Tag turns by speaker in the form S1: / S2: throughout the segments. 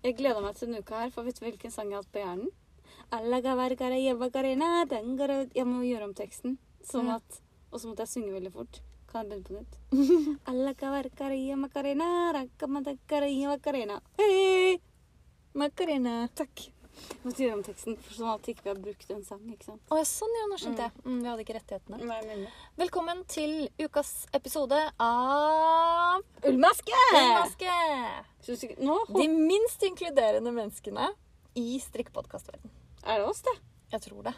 S1: Jeg gleder meg til denne uka her, for vet du hvilken sang jeg har hatt på hjernen? Allagavargara yevagarena dangara- Jeg må gjøre om teksten, sånn
S2: Ja.
S1: at Og så måtte jeg synge veldig fort. Kan jeg begynne på nytt? Allagavargara yemakarena rakamadakara yevagarena. Hei!
S2: Macarena.
S1: Takk. Jeg måtte gjøre om teksten, for sånn at vi ikke har brukt en sang, ikke sant?
S2: Å ja, sånn ja, nå skjønte jeg. Mm, vi hadde ikke rettighetene.
S1: Nei, men...
S2: Velkommen til ukas episode av
S1: Ullmaske!
S2: Ullmaske!
S1: Synes ikke- Nå
S2: De minst inkluderende menneskene i strikkepodkastverden.
S1: er det oss, det.
S2: Jeg tror det.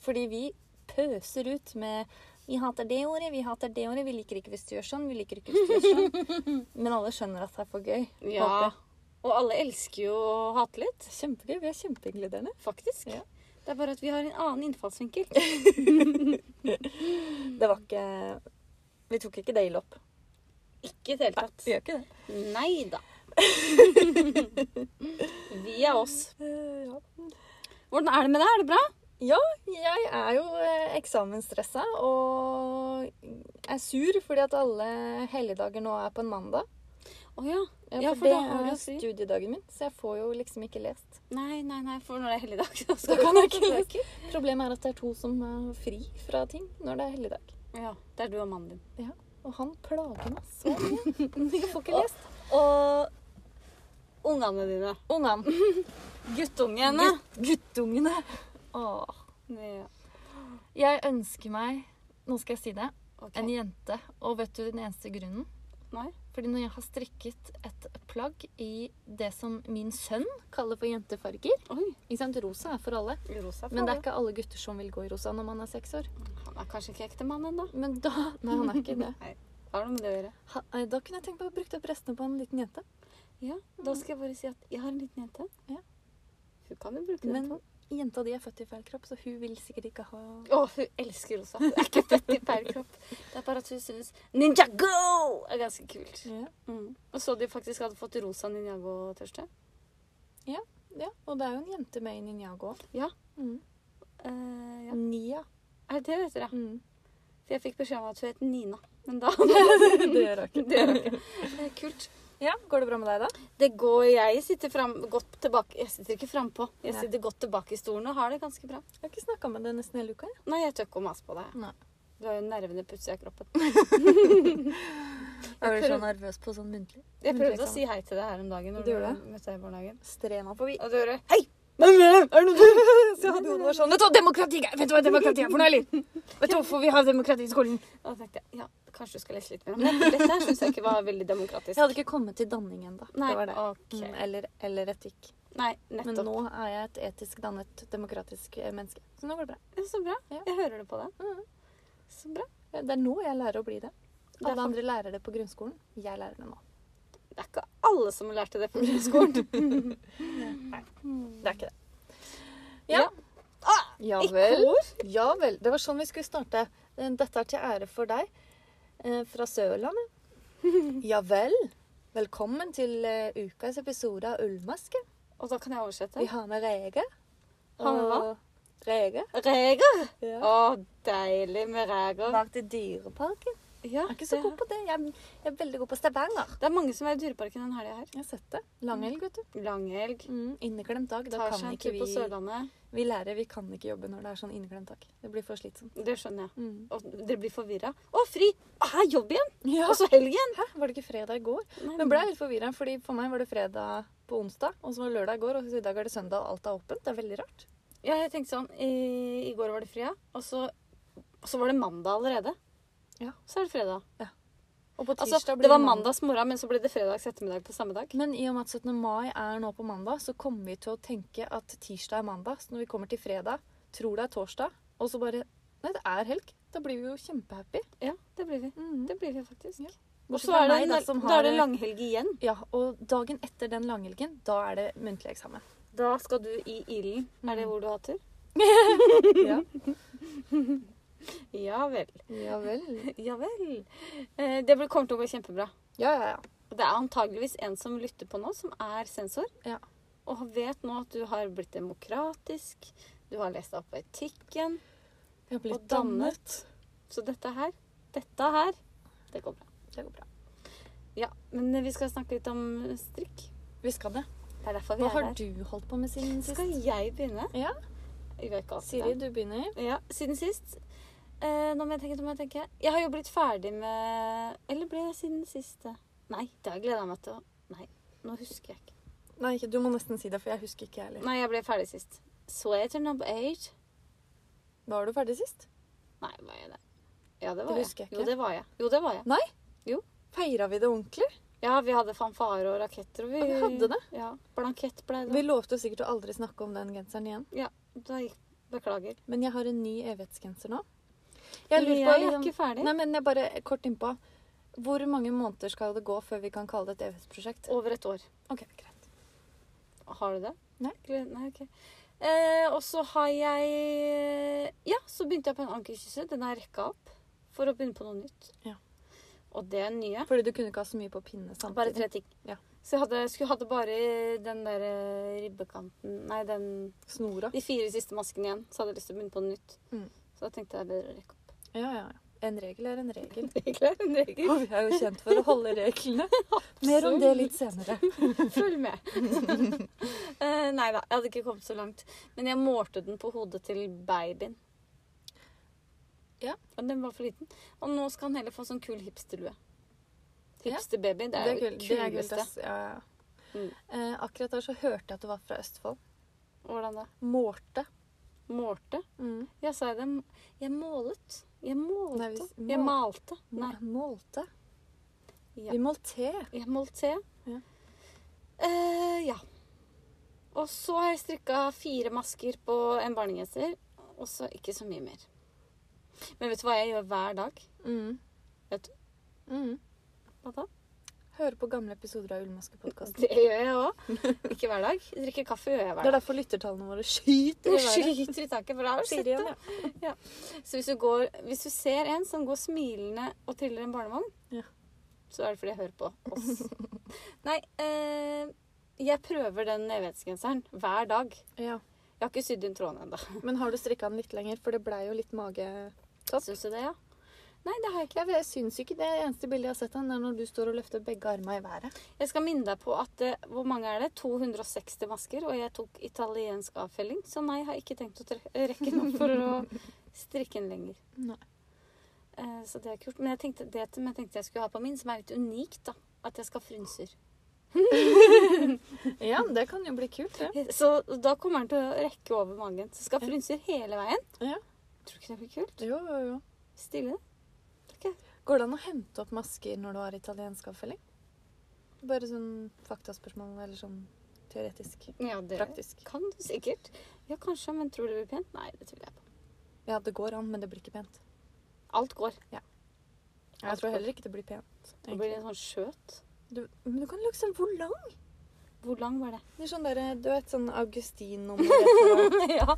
S2: Fordi vi pøser ut med vi hater det ordet, vi hater det ordet, vi liker ikke hvis du gjør sånn, vi liker ikke hvis du gjør sånn. Men alle skjønner at det er for gøy.
S1: Ja.
S2: Håper jeg.
S1: Og alle elsker jo å hate litt,
S2: Kjempegøy. Vi er kjempeinkluderende.
S1: faktisk.
S2: Ja.
S1: Det er bare at vi har en annen innfallsvinkel.
S2: Det var ikke Vi tok ikke det i lopp.
S1: Ikke i det hele tatt.
S2: Vi gjør ikke det.
S1: Nei da. vi er oss.
S2: Eh, ja.
S1: Hvordan er det med deg? Er det bra?
S2: Ja, jeg er jo eh, eksamensstressa og er sur fordi at alle helligdager nå er på en mandag.
S1: Å ja. Ja, for
S2: det
S1: da har du
S2: er
S1: fri.
S2: studiedagen min, så jeg får jo liksom ikke lest.
S1: Nei, nei, nei, for når det er helligdag, så
S2: Da
S1: skal
S2: kan jeg ikke
S1: du
S2: lese. Problemet er at det er to som er fri fra ting når det er helligdag.
S1: Ja, Det er du og mannen din.
S2: Ja, og han plager meg så mye. Jeg får ikke lest.
S1: Og ungene dine.
S2: Ungene.
S1: Guttungene.
S2: Gutt, guttungene. Åh.
S1: Ja.
S2: Jeg ønsker meg, nå skal jeg si det,
S1: ok.
S2: en jente. Og vet du den eneste grunnen?
S1: Nei?
S2: Fordi når jeg har strikket et plagg i det som min sønn kaller for jentefarger
S1: Oi.
S2: Ikke sant, rosa er for alle.
S1: Rosa
S2: Men det er ikke alle gutter som vil gå i rosa når man er seks år.
S1: Han er kanskje ikke ektemann ennå.
S2: Men da Nei, han er ikke det.
S1: Har noe med det å gjøre.
S2: Ha, nei, da kunne jeg tenkt meg å bruke opp restene på en liten jente.
S1: Ja, Da skal jeg bare si at jeg har en liten jente.
S2: Ja.
S1: Hun kan jo bruke den
S2: Men
S1: på.
S2: jenta di er født i feil kropp, så hun vil sikkert ikke ha
S1: Å, hun elsker rosa. Hun er ikke født i feil kropp. Det er bare at hun synes Ninjago er ganske kult.
S2: ja.
S1: Mm. Og så de faktisk hadde fått rosa Ninjago-tørste.
S2: ja, og det er jo en jente med i Ninjago.
S1: Ja.
S2: Mm.
S1: Eh, ja.
S2: Nia.
S1: Er det vet dere?
S2: Mm.
S1: For jeg fikk beskjed om at hun het Nina. Men da
S2: det gjør hun ikke.
S1: Det gjør hun ikke. Det er kult.
S2: Ja, Går det bra med deg, da?
S1: Det går Jeg sitter fram, godt tilbake Jeg sitter ikke frampå. Jeg
S2: Nei.
S1: sitter godt tilbake i stolen og har det ganske bra.
S2: Jeg har ikke snakka med deg nesten hele uka. jeg.
S1: Nei, jeg tør ikke å mase på deg.
S2: Nei.
S1: Du har jo nervene pussa i kroppen.
S2: Er du
S1: prøver-
S2: så nervøs på sånn muntlig?
S1: Jeg
S2: Muntlig
S1: prøvde å
S2: eksamen.
S1: si hei til deg her om dagen. Når
S2: Du gjorde
S1: du møtte deg i barnehagen.
S2: Strena forbi.
S1: Og du gjorde Hei! Er det noe du
S2: Så jeg hadde hodet var sånn Vet du hva demokrati er? Vet du hva demokrati er for noe, eller? Vet du hvorfor vi har demokrati i skolen?
S1: Og da tenkte jeg ja, kanskje du skal lese litt mer om det. Dette her syns jeg ikke var veldig demokratisk.
S2: Jeg hadde ikke kommet til danning ennå.
S1: Nei,
S2: Det var det.
S1: ok.
S2: Mm, eller, eller etikk.
S1: Nei,
S2: Men
S1: nettopp.
S2: nå er jeg et etisk dannet, demokratisk eh, menneske. Så nå går det bra.
S1: Ja, så bra.
S2: Ja.
S1: Jeg hører det på deg.
S2: Mhm.
S1: Så bra.
S2: Ja, Det er nå jeg lærer å bli det.
S1: Det er
S2: Alle
S1: for-
S2: andre lærer det på grunnskolen. Jeg lærer det nå.
S1: Det er ikke alle som lærte det på grunnskolen.
S2: Det er ikke det.
S1: Ja. Ah,
S2: Ja
S1: I
S2: vel.
S1: kor?
S2: Ja vel. Det var sånn vi skulle starte. Eh, Dette er til ære for deg eh, fra Sørlandet. Ja vel. Velkommen til eh, ukas episode av Ullmaske.
S1: Og da kan jeg oversette.
S2: Vi har med Rege.
S1: Har med hva?
S2: Og Rege.
S1: Reger.
S2: Ja.
S1: Å, deilig med reger.
S2: Bak til Dyreparken.
S1: Ja,
S2: Jeg er ikke så
S1: det-
S2: god på det. Jeg, jeg er veldig god på Stavanger.
S1: Det er mange som er i Dyreparken den helga her.
S2: Jeg har sett det. Langhelg, vet du.
S1: Langhelg.
S2: Mm, inneklemt dag. Da
S1: Tar
S2: kan
S1: seg en
S2: ikke
S1: tur
S2: vi
S1: på Sørlandet.
S2: Vi lærere vi kan ikke jobbe når det er sånn inneklemt dag. Det blir for slitsomt.
S1: Det skjønner jeg.
S2: Mm.
S1: Og dere blir forvirra. Å, fri! Å, her jobb igjen!
S2: Ja. Mm.
S1: Og så helg igjen!
S2: Hæ, var det ikke fredag i går?
S1: Nei,
S2: Men ble jeg litt forvirra, fordi for meg var det fredag på onsdag, og så var det lørdag i går, og så i dag er det søndag, og alt er åpent. Det er veldig rart.
S1: Ja, jeg tenkte sånn I, i går var det fria, og så, og så var det mandag allerede.
S2: Ja.
S1: Så er det fredag.
S2: Og på tirsdag
S1: Altså,
S2: blir
S1: det var mandags morgen, men så ble det fredags ettermiddag på samme dag.
S2: Men i og med at 17. mai er nå på mandag, så kommer vi til å tenke at tirsdag er mandag. Så når vi kommer til fredag, tror det er torsdag, og så bare Nei, det er helg. Da blir vi jo kjempehappy.
S1: Ja, det blir vi.
S2: Mm.
S1: Det blir vi faktisk.
S2: Ja.
S1: Og
S2: Bortsett
S1: så
S2: fra
S1: er det,
S2: meg, da, som
S1: da,
S2: har-
S1: er det langhelg igjen.
S2: Ja, og dagen etter den langhelgen, da er det muntlig eksamen.
S1: Da skal du i ilden. Er det
S2: Mm.
S1: hvor du har tur?
S2: Ja,
S1: Ja vel.
S2: ja vel.
S1: Ja vel. Eh, det blir- kommer til å gå kjempebra.
S2: Ja, ja, ja.
S1: Og det er antageligvis en som lytter på nå, som er sensor.
S2: Ja.
S1: Og vet nå at du har blitt demokratisk, du har lest deg opp på etikken.
S2: Jeg har blitt
S1: Og dannet.
S2: dannet.
S1: Så dette her, dette her, det går bra.
S2: Det går bra.
S1: eh, Ja, men vi skal snakke litt om strikk.
S2: Vi skal det.
S1: Det er derfor vi
S2: Hva
S1: er
S2: har
S1: her.
S2: du holdt på med siden sist?
S1: Skal jeg begynne?
S2: Ja,
S1: Jeg vet ikke alt
S2: Siri,
S1: det.
S2: du begynner.
S1: Ja, siden sist. Eh, nå må jeg tenke, nå må jeg tenke. Jeg har jo blitt ferdig med Eller ble jeg siden siste? Nei, det har jeg gleda meg til. å- Nei, nå husker jeg ikke.
S2: Nei, ikke- du må nesten si det, for jeg husker ikke jeg heller.
S1: Nei, jeg ble ferdig sist. Sweater number eight.
S2: Var du ferdig sist?
S1: Nei, var jeg det? Ja, det
S2: Det
S1: var
S2: husker jeg
S1: jeg.
S2: ikke.
S1: Jo, det var jeg. Jo, det var jeg.
S2: Feira vi det ordentlig?
S1: Ja, vi hadde fanfare og raketter. Og vi,
S2: Ja, vi hadde det.
S1: Ja, Blankett ble
S2: Vi
S1: det.
S2: lovte sikkert å aldri snakke om den genseren igjen.
S1: Da gikk, beklager.
S2: Men jeg har en ny evighetsgenser nå.
S1: Jeg,
S2: Jeg lurer på
S1: jeg er
S2: liksom-
S1: ikke ferdig.
S2: Nei, men jeg bare kort innpå. Hvor mange måneder skal det gå før vi kan kalle det et evighetsprosjekt?
S1: Over et år.
S2: Ok, greit.
S1: Har du det?
S2: Nei.
S1: Gle- Nei, ok. Eh, og så har jeg Ja, så begynte jeg på en ankerkysse. Den er rekka opp for å begynne på noe nytt.
S2: Ja.
S1: Og det er nye.
S2: Fordi du kunne ikke ha så mye på pinne samtidig.
S1: Bare tre ting.
S2: Ja.
S1: Så jeg hadde, skulle, hadde bare den der eh, ribbekanten Nei, den
S2: Snora.
S1: De fire siste maskene igjen. Så hadde jeg lyst til å begynne på noe nytt.
S2: Mm.
S1: Så da tenkte jeg det er bedre å rekke opp.
S2: Ja, ja, ja. En regel er en regel.
S1: Regler er en regel.
S2: Og vi er jo kjent for å holde reglene. Mer om det litt senere.
S1: Følg med. uh, nei da, jeg hadde ikke kommet så langt. Men jeg målte den på hodet til babyen.
S2: Ja.
S1: Og den var for liten. Og nå skal han heller få sånn kul hipsterlue. Hipsterbaby, det
S2: Det
S1: er
S2: er
S1: jo det
S2: kult. Det er kult,
S1: kuleste.
S2: ass. Ja, ja.
S1: Mm.
S2: Eh, akkurat der så hørte jeg at du var fra Østfold.
S1: Hvordan da?
S2: Målte.
S1: Målte?
S2: Mm.
S1: Ja, sa jeg det? Jeg målet. Jeg målte.
S2: Nei, hvis-
S1: Jeg
S2: mål-
S1: malte. Nei.
S2: Målte.
S1: Ja.
S2: Vi målte.
S1: Jeg målte.
S2: Ja.
S1: Eh, ja. Og så har jeg strikka fire masker på en barnegenser. Og så ikke så mye mer. Men vet du hva jeg gjør hver dag?
S2: Mm.
S1: Vet du?
S2: Mm.
S1: Hva da?
S2: Høre på gamle episoder av Ullmaskepodkasten.
S1: Det gjør jeg òg. Ikke hver dag. Drikke kaffe gjør jeg
S2: Det
S1: hver
S2: er
S1: dag.
S2: derfor lyttertallene våre skyter. i
S1: Jeg
S2: været.
S1: skyter i taket, for da har du sett
S2: Siri igjen,
S1: det.
S2: ja.
S1: Så hvis du, går, hvis du ser en som går smilende og triller en barnevogn,
S2: Ja.
S1: så er det fordi jeg hører på oss. Nei, eh, jeg prøver den evighetsgenseren hver dag.
S2: ja.
S1: Jeg har ikke sydd inn tråden ennå.
S2: Men har du strikka den litt lenger? For det blei jo litt mage... Topp.
S1: Syns du det, ja? Nei, det har jeg ikke.
S2: Jeg vet- syns ikke det eneste bildet jeg har sett av den, er når du står og løfter begge armene i været.
S1: Jeg skal minne deg på at eh, hvor mange er det? 260 masker. Og jeg tok italiensk avfelling, så nei, jeg har ikke tenkt å tre- rekke den opp for å strikke den lenger.
S2: Nei.
S1: Eh, Så det har jeg ikke gjort. Men jeg tenkte, det som jeg tenkte jeg skulle ha på min, som er litt unikt, da. At jeg skal ha frynser.
S2: Ja, det kan jo bli kult, det.
S1: Eh, Så da kommer den til å rekke over magen. Så skal ha frynser hele veien.
S2: Ja.
S1: Tror du ikke det blir kult?
S2: Jo, jo, jo.
S1: Stille.
S2: Går det an å hente opp masker når du har italiensk avfelling? Bare sånn faktaspørsmål, eller sånn teoretisk.
S1: Ja, det
S2: Praktisk.
S1: kan du sikkert. Ja, kanskje, men tror du det blir pent? Nei, det tviler jeg på.
S2: Ja, det går an, men det blir ikke pent.
S1: Alt går.
S2: Jeg tror heller ikke det blir pent.
S1: Det blir en sånn skjøt.
S2: Du, men du kan liksom Hvor lang?
S1: Hvor lang var det?
S2: Det er sånn derre Du vet, sånn Augustin-nummer.
S1: ja,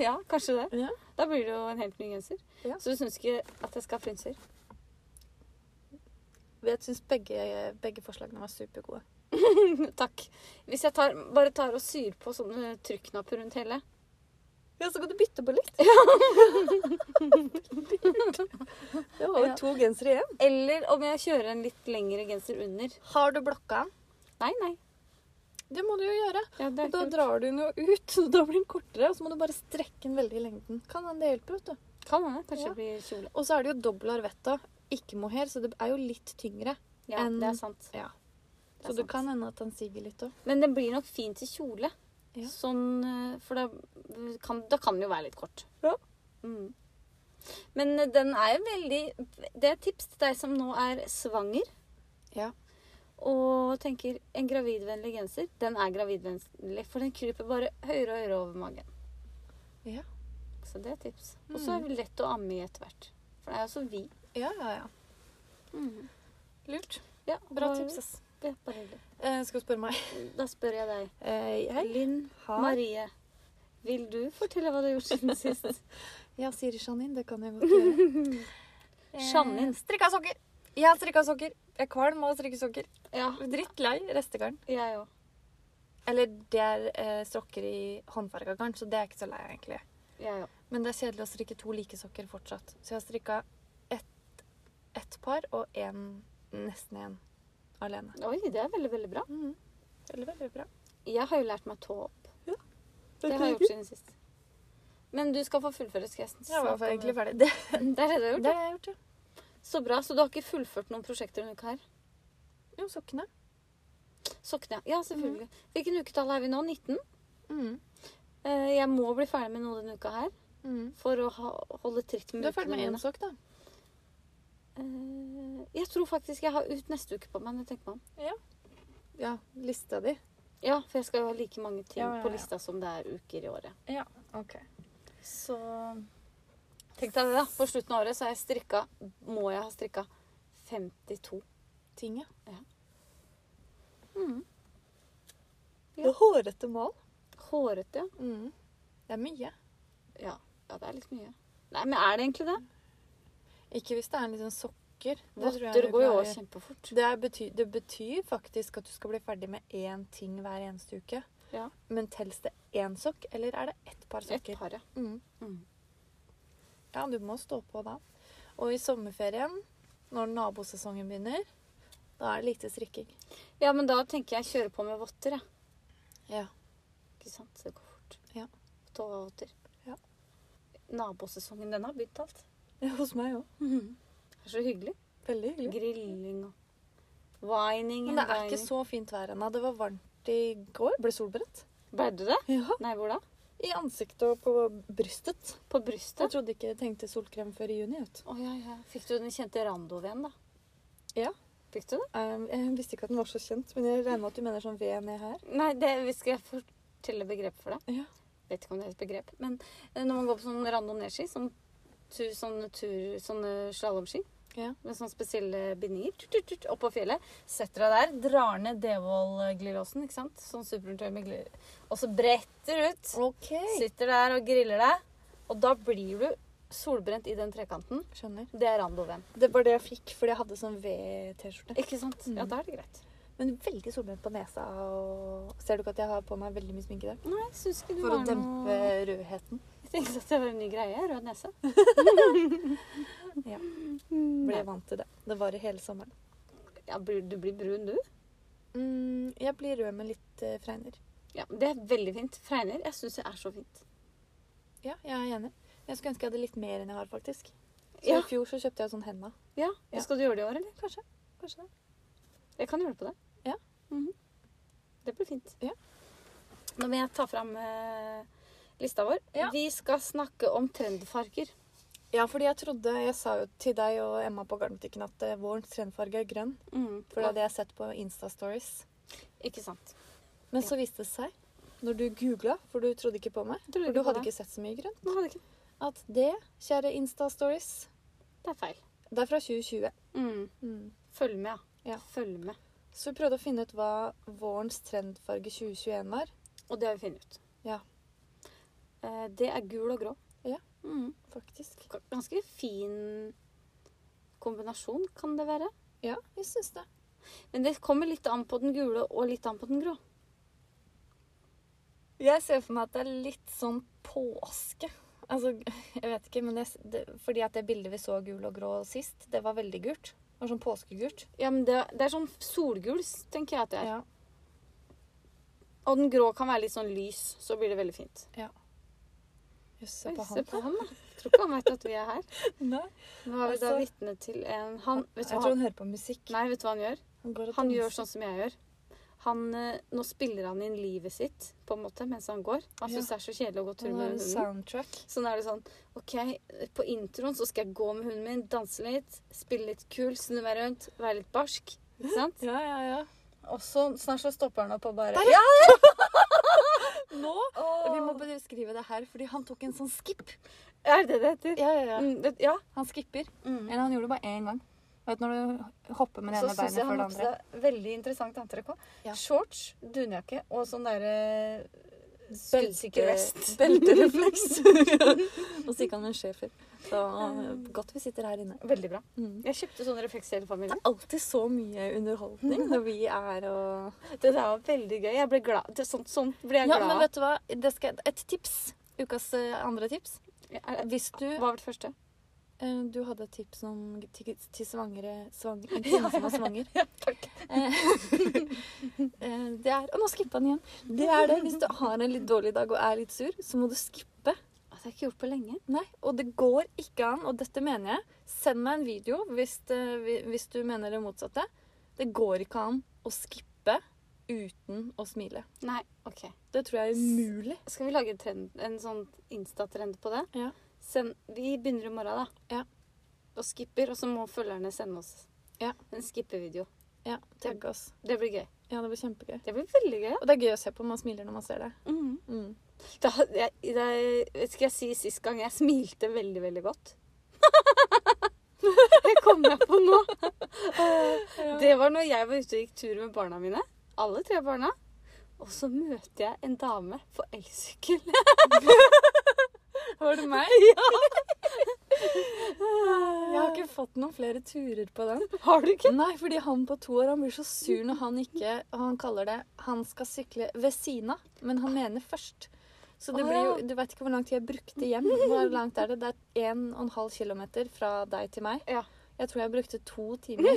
S1: ja, kanskje det.
S2: ja.
S1: Da blir det jo en helt ny genser.
S2: Ja.
S1: Så du syns ikke at jeg skal ha frynser?
S2: Jeg syns begge, begge forslagene var supergode.
S1: Takk. Hvis jeg tar, bare tar og syr på sånne trykknapper rundt hele.
S2: Ja, så kan du bytte på litt. det var jo
S1: Ja.
S2: to gensere igjen.
S1: Eller om jeg kjører en litt lengre genser under.
S2: Har du blokka den?
S1: Nei, nei.
S2: Det må du jo gjøre.
S1: Ja, det er
S2: Og da
S1: kult.
S2: drar du den jo ut, så da blir den kortere. Og så må du bare strekke den veldig i lengden. Kan hende det hjelper, vet du.
S1: Kan hende. Kanskje
S2: Ja.
S1: det blir kjole.
S2: Og så er det jo dobbel arvetta, ikke mohair, så det er jo litt tyngre.
S1: Ja,
S2: En-
S1: det er sant.
S2: Ja.
S1: Det er
S2: Så det
S1: sant.
S2: kan hende at den siger litt òg.
S1: Men den blir nok fin til kjole.
S2: Ja.
S1: Sånn, eh, for da kan, da kan den jo være litt kort.
S2: Ja.
S1: Mm. Men eh, den er jo veldig Det er et tips til deg som nå er svanger.
S2: Ja.
S1: Og tenker en gravidvennlig genser. Den er gravidvennlig, for den kryper bare høyere og høyere over magen.
S2: Ja. Mm.
S1: Så det er et tips. Og så er det lett å amme i etter hvert. For den er jo så vid.
S2: ja, ja, ja. Lurt.
S1: Ja,
S2: Mm. Bra
S1: og-
S2: tips, altså. ass.
S1: Ja, bare hyggelig.
S2: Eh, skal du spørre meg?
S1: Da spør jeg deg.
S2: Eh, jeg
S1: Linn
S2: har
S1: Marie, vil du fortelle hva du har gjort siden sist?
S2: Ja, sier Janine. Det kan jeg godt gjøre.
S1: Janine.
S2: Strikka sokker. Jeg har strikka sokker. Jeg er kvalm av å strikke sokker.
S1: Ja,
S2: Drittlei restegarn.
S1: jeg òg.
S2: Eller det er eh, sokker i håndfarga garn, så det er jeg ikke så lei av, egentlig.
S1: Jeg òg.
S2: Men det er kjedelig å strikke to like sokker fortsatt. Så jeg har strikka ett ett par og én nesten én alene.
S1: Oi, det er veldig, veldig bra.
S2: Mhm. Mm. Veldig, veldig bra.
S1: Jeg har jo lært meg tå opp. Det har jeg gjort siden sist. Men du skal få fullføre, skal jeg
S2: Jeg var
S1: snakke om.
S2: egentlig ferdig. Det,
S1: Det er det du har gjort.
S2: det har jeg gjort, ja.
S1: ja. Så bra. Så du har ikke fullført noen prosjekter denne uka her?
S2: Jo, sokkene.
S1: Sokkene, ja. Ja, selvfølgelig. Hvilken uketall er vi nå? 19?
S2: Mm.
S1: Eh, Jeg må bli ferdig med noe denne uka her
S2: Mm.
S1: for å ha, holde tritt
S2: Du
S1: med
S2: er ferdig med én sokk, da.
S1: Eh, Jeg tror faktisk jeg har ut neste uke på meg. når jeg tenker meg om.
S2: Ja, lista di.
S1: Ja, for jeg skal jo ha like mange ting
S2: Ja, ja,
S1: på
S2: ja.
S1: lista som det er uker i året.
S2: Ja, ok.
S1: Så Tenk deg det, da. På slutten av året så har jeg strikka Må jeg ha strikka 52.
S2: Ting, ja.
S1: Mm. Ja.
S2: Det er hårete mål.
S1: Hårete, ja.
S2: Mm. Det er mye.
S1: ja. Ja, det er litt mye. Nei, men er det egentlig det?
S2: Ikke hvis det er liksom sokker. Det tror jeg
S1: Votter
S2: du
S1: går jo
S2: klarer.
S1: også kjempefort.
S2: det, er bety det betyr faktisk at du skal bli ferdig med én ting hver eneste uke.
S1: Ja.
S2: Men telles det én sokk, eller er det ett par
S1: Et
S2: sokker?
S1: par, ja.
S2: Mm.
S1: Mm.
S2: Ja, du må stå på da. Og i sommerferien, når nabosesongen begynner, da er det lite strikking.
S1: Ja, men da tenker jeg kjøre på med votter, jeg.
S2: Ja.
S1: Ikke sant? Så det går fort.
S2: Ja.
S1: Tova votter.
S2: Ja.
S1: Nabosesongen, den har begynt alt.
S2: Hos meg òg.
S1: Det er så hyggelig.
S2: Veldig hyggelig.
S1: Grilling og wining
S2: Men det er ikke så fint vær ennå. Det var varmt i går. Ble solbrent.
S1: Ble du det?
S2: Ja.
S1: Nei, hvor da?
S2: I ansiktet og på brystet.
S1: På
S2: Jeg
S1: brystet?
S2: trodde ikke jeg trengte solkrem før i juni. Vet. du.
S1: Å ja, ja. Fikk du den kjente randoven, da?
S2: Ja.
S1: Fikk du det?
S2: Um, Jeg visste ikke at den var så kjent, men jeg regner med at du mener sånn ved ned her.
S1: Nei, det vi skal jeg fortelle begrepet for deg.
S2: Ja.
S1: Vet ikke om det er et begrep. Men eh, når man går på sånn randoneeski, sånn tu- sånne, tur- sånne slalåmski
S2: Ja.
S1: med sånne spesielle bindinger tut, tut, tut, opp på fjellet, setter deg der, drar ned Devold-glidelåsen, ikke sant? Sånn superintøy med glidelås. Og så bretter ut.
S2: OK.
S1: Sitter der og griller deg. Og da blir du solbrent i den trekanten.
S2: Skjønner.
S1: Det er rando-VM.
S2: Det var det jeg fikk fordi jeg hadde sånn ved-T-skjorte.
S1: Ikke sant? Ja,
S2: Mm.
S1: da er det greit.
S2: Men veldig solbrent på nesa. Og ser du ikke at jeg har på meg veldig mye sminke i dag?
S1: Nei, syns ikke du
S2: For å
S1: var
S2: dempe
S1: noe
S2: rødheten.
S1: Jeg tenkte at det var en ny greie. Rød nese.
S2: Ja. Ble
S1: Ble...
S2: jeg vant til det. Det varer hele sommeren.
S1: Ja, blir- du blir brun, du.
S2: Mm, jeg blir rød med litt eh, fregner.
S1: Ja, men Det er veldig fint. Fregner. Jeg syns det er så fint.
S2: Ja, jeg er enig. Jeg skulle ønske jeg hadde litt mer enn jeg har, faktisk. Så
S1: Ja.
S2: I fjor så kjøpte jeg sånn henda.
S1: Ja,
S2: Ja.
S1: Skal du gjøre det i år, eller?
S2: Kanskje. Kanskje det.
S1: Jeg kan hjelpe deg.
S2: Ja.
S1: Mhm. Det blir fint.
S2: Ja.
S1: Nå må jeg ta fram eh, lista vår.
S2: Ja.
S1: Vi skal snakke om trendfarger.
S2: Ja, fordi jeg trodde Jeg sa jo til deg og Emma på Gardenbutikken at eh, vårens trendfarge er grønn.
S1: Mm.
S2: For det hadde jeg sett på Insta-stories.
S1: Ikke sant.
S2: Men
S1: Ja.
S2: så viste det seg, når du googla, for du trodde ikke på meg
S1: Jeg trodde
S2: For du
S1: på
S2: hadde
S1: det.
S2: ikke sett så mye grønt,
S1: Nå hadde jeg ikke
S2: at det, kjære Insta-stories,
S1: Det er feil.
S2: det er fra 2020.
S1: Mm. Følg med, ja.
S2: Ja.
S1: Følg med.
S2: Så vi prøvde å finne ut hva vårens trendfarge 2021 var,
S1: Og det har vi funnet ut.
S2: Ja.
S1: Eh, det er gul og grå.
S2: Ja.
S1: Mm.
S2: faktisk.
S1: G- Ganske fin kombinasjon, kan det være.
S2: Ja, jeg syns det.
S1: Men det kommer litt an på den gule og litt an på den grå.
S2: Jeg ser for meg at det er litt sånn påske. Altså, jeg vet ikke, men jeg, det, fordi at det bildet vi så gul og grå sist, det var veldig gult. Det var sånn påskegult.
S1: Ja, men det, det er sånn solgul, s- tenker jeg at det er.
S2: Ja.
S1: Og den grå kan være litt sånn lys, så blir det veldig fint.
S2: Jøsse
S1: Oi,
S2: på
S1: Se
S2: han.
S1: på han, da. Tror ikke han vet at vi er her.
S2: Nei.
S1: Nå er vi da
S2: Altså-
S1: vitne til en Han,
S2: Jeg
S1: vet du
S2: tror
S1: hva han,
S2: han hører på musikk.
S1: nei, vet du hva han gjør?
S2: Han, går og
S1: Han gjør
S2: danser.
S1: sånn som jeg gjør. Han, eh, nå spiller han inn livet sitt på en måte mens han går. Han syns det er så kjedelig å gå tur
S2: Han
S1: med
S2: har en
S1: hunden.
S2: soundtrack.
S1: Så nå er det sånn OK, på introen så skal jeg gå med hunden min, danse litt, spille litt kul, snu meg rundt, være litt barsk. Ikke sant?
S2: Ja, ja, ja.
S1: Og så snart så stopper han opp og bare
S2: Der,
S1: Ja!
S2: Nå!
S1: Åh.
S2: Vi må beskrive det her, fordi han tok en sånn skip.
S1: Er det det heter?
S2: Ja, ja, ja.
S1: Mm, det, ja.
S2: Han skipper.
S1: Mm.
S2: Eller han gjorde det bare én gang. Vet du når du hopper med det
S1: Så
S2: ene
S1: syns
S2: beinet
S1: jeg
S2: før
S1: han
S2: det
S1: har på
S2: andre?
S1: seg veldig interessant antrekk òg.
S2: Ja.
S1: Shorts, dunjakke og sånn derre
S2: Belte-
S1: skuddsikker vest.
S2: Belterefleks. og så gikk han med en schæfer. Så eh, godt vi sitter her inne.
S1: Veldig bra.
S2: Mm.
S1: Jeg kjøpte sånn refleks til hele
S2: Det
S1: familien.
S2: er alltid så mye underholdning når vi er og
S1: Det der var veldig gøy. Jeg ble glad. Det, sånt, sånt ble jeg
S2: Ja, men
S1: glad av.
S2: vet du hva? Det skal, et tips. Ukas eh, andre tips.
S1: Er-
S2: Hvis du
S1: Hva var det første?
S2: eh, Du hadde et tips om, til, til svangere svang, En kvinne som var svanger.
S1: Ja, takk.
S2: Eh, eh, Det det er Og nå skippa den igjen. Det er det. Hvis du har en litt dårlig dag og er litt sur, så må du skippe.
S1: Altså, jeg har ikke gjort på lenge.
S2: Nei, og det går ikke an, og dette mener jeg. Send meg en video hvis, det, hvi- hvis du mener det motsatte. Det går ikke an å skippe uten å smile.
S1: Nei, ok.
S2: Det tror jeg er umulig.
S1: Skal vi lage en trend, en sånn Insta-trend på det?
S2: Ja.
S1: Send, vi begynner i morgen, da.
S2: Ja.
S1: Og skipper, og så må følgerne sende oss
S2: Ja.
S1: en skippevideo.
S2: Ja, tagg oss.
S1: Det blir gøy.
S2: Ja, det blir kjempegøy.
S1: Det blir veldig gøy.
S2: Og det er gøy å se på. Man smiler når man ser det.
S1: Mm.
S2: Mm.
S1: Da, jeg, det, skal jeg si sist gang jeg smilte veldig, veldig godt? Det kom jeg på nå. Det var når jeg var ute og gikk tur med barna mine. Alle tre barna. Og så møter jeg en dame på elsykkel.
S2: Var det meg?
S1: Ja.
S2: Jeg har ikke fått noen flere turer på den.
S1: Har du ikke?
S2: Nei, fordi han på to år han blir så sur når han ikke og Han kaller det 'han skal sykle ved siden av', men han mener først. Så det
S1: Å,
S2: blir jo,
S1: ja.
S2: du veit ikke hvor lang tid jeg brukte hjem. Hvor langt er det? Det er 1,5 km fra deg til meg.
S1: Ja.
S2: Jeg tror jeg brukte to timer.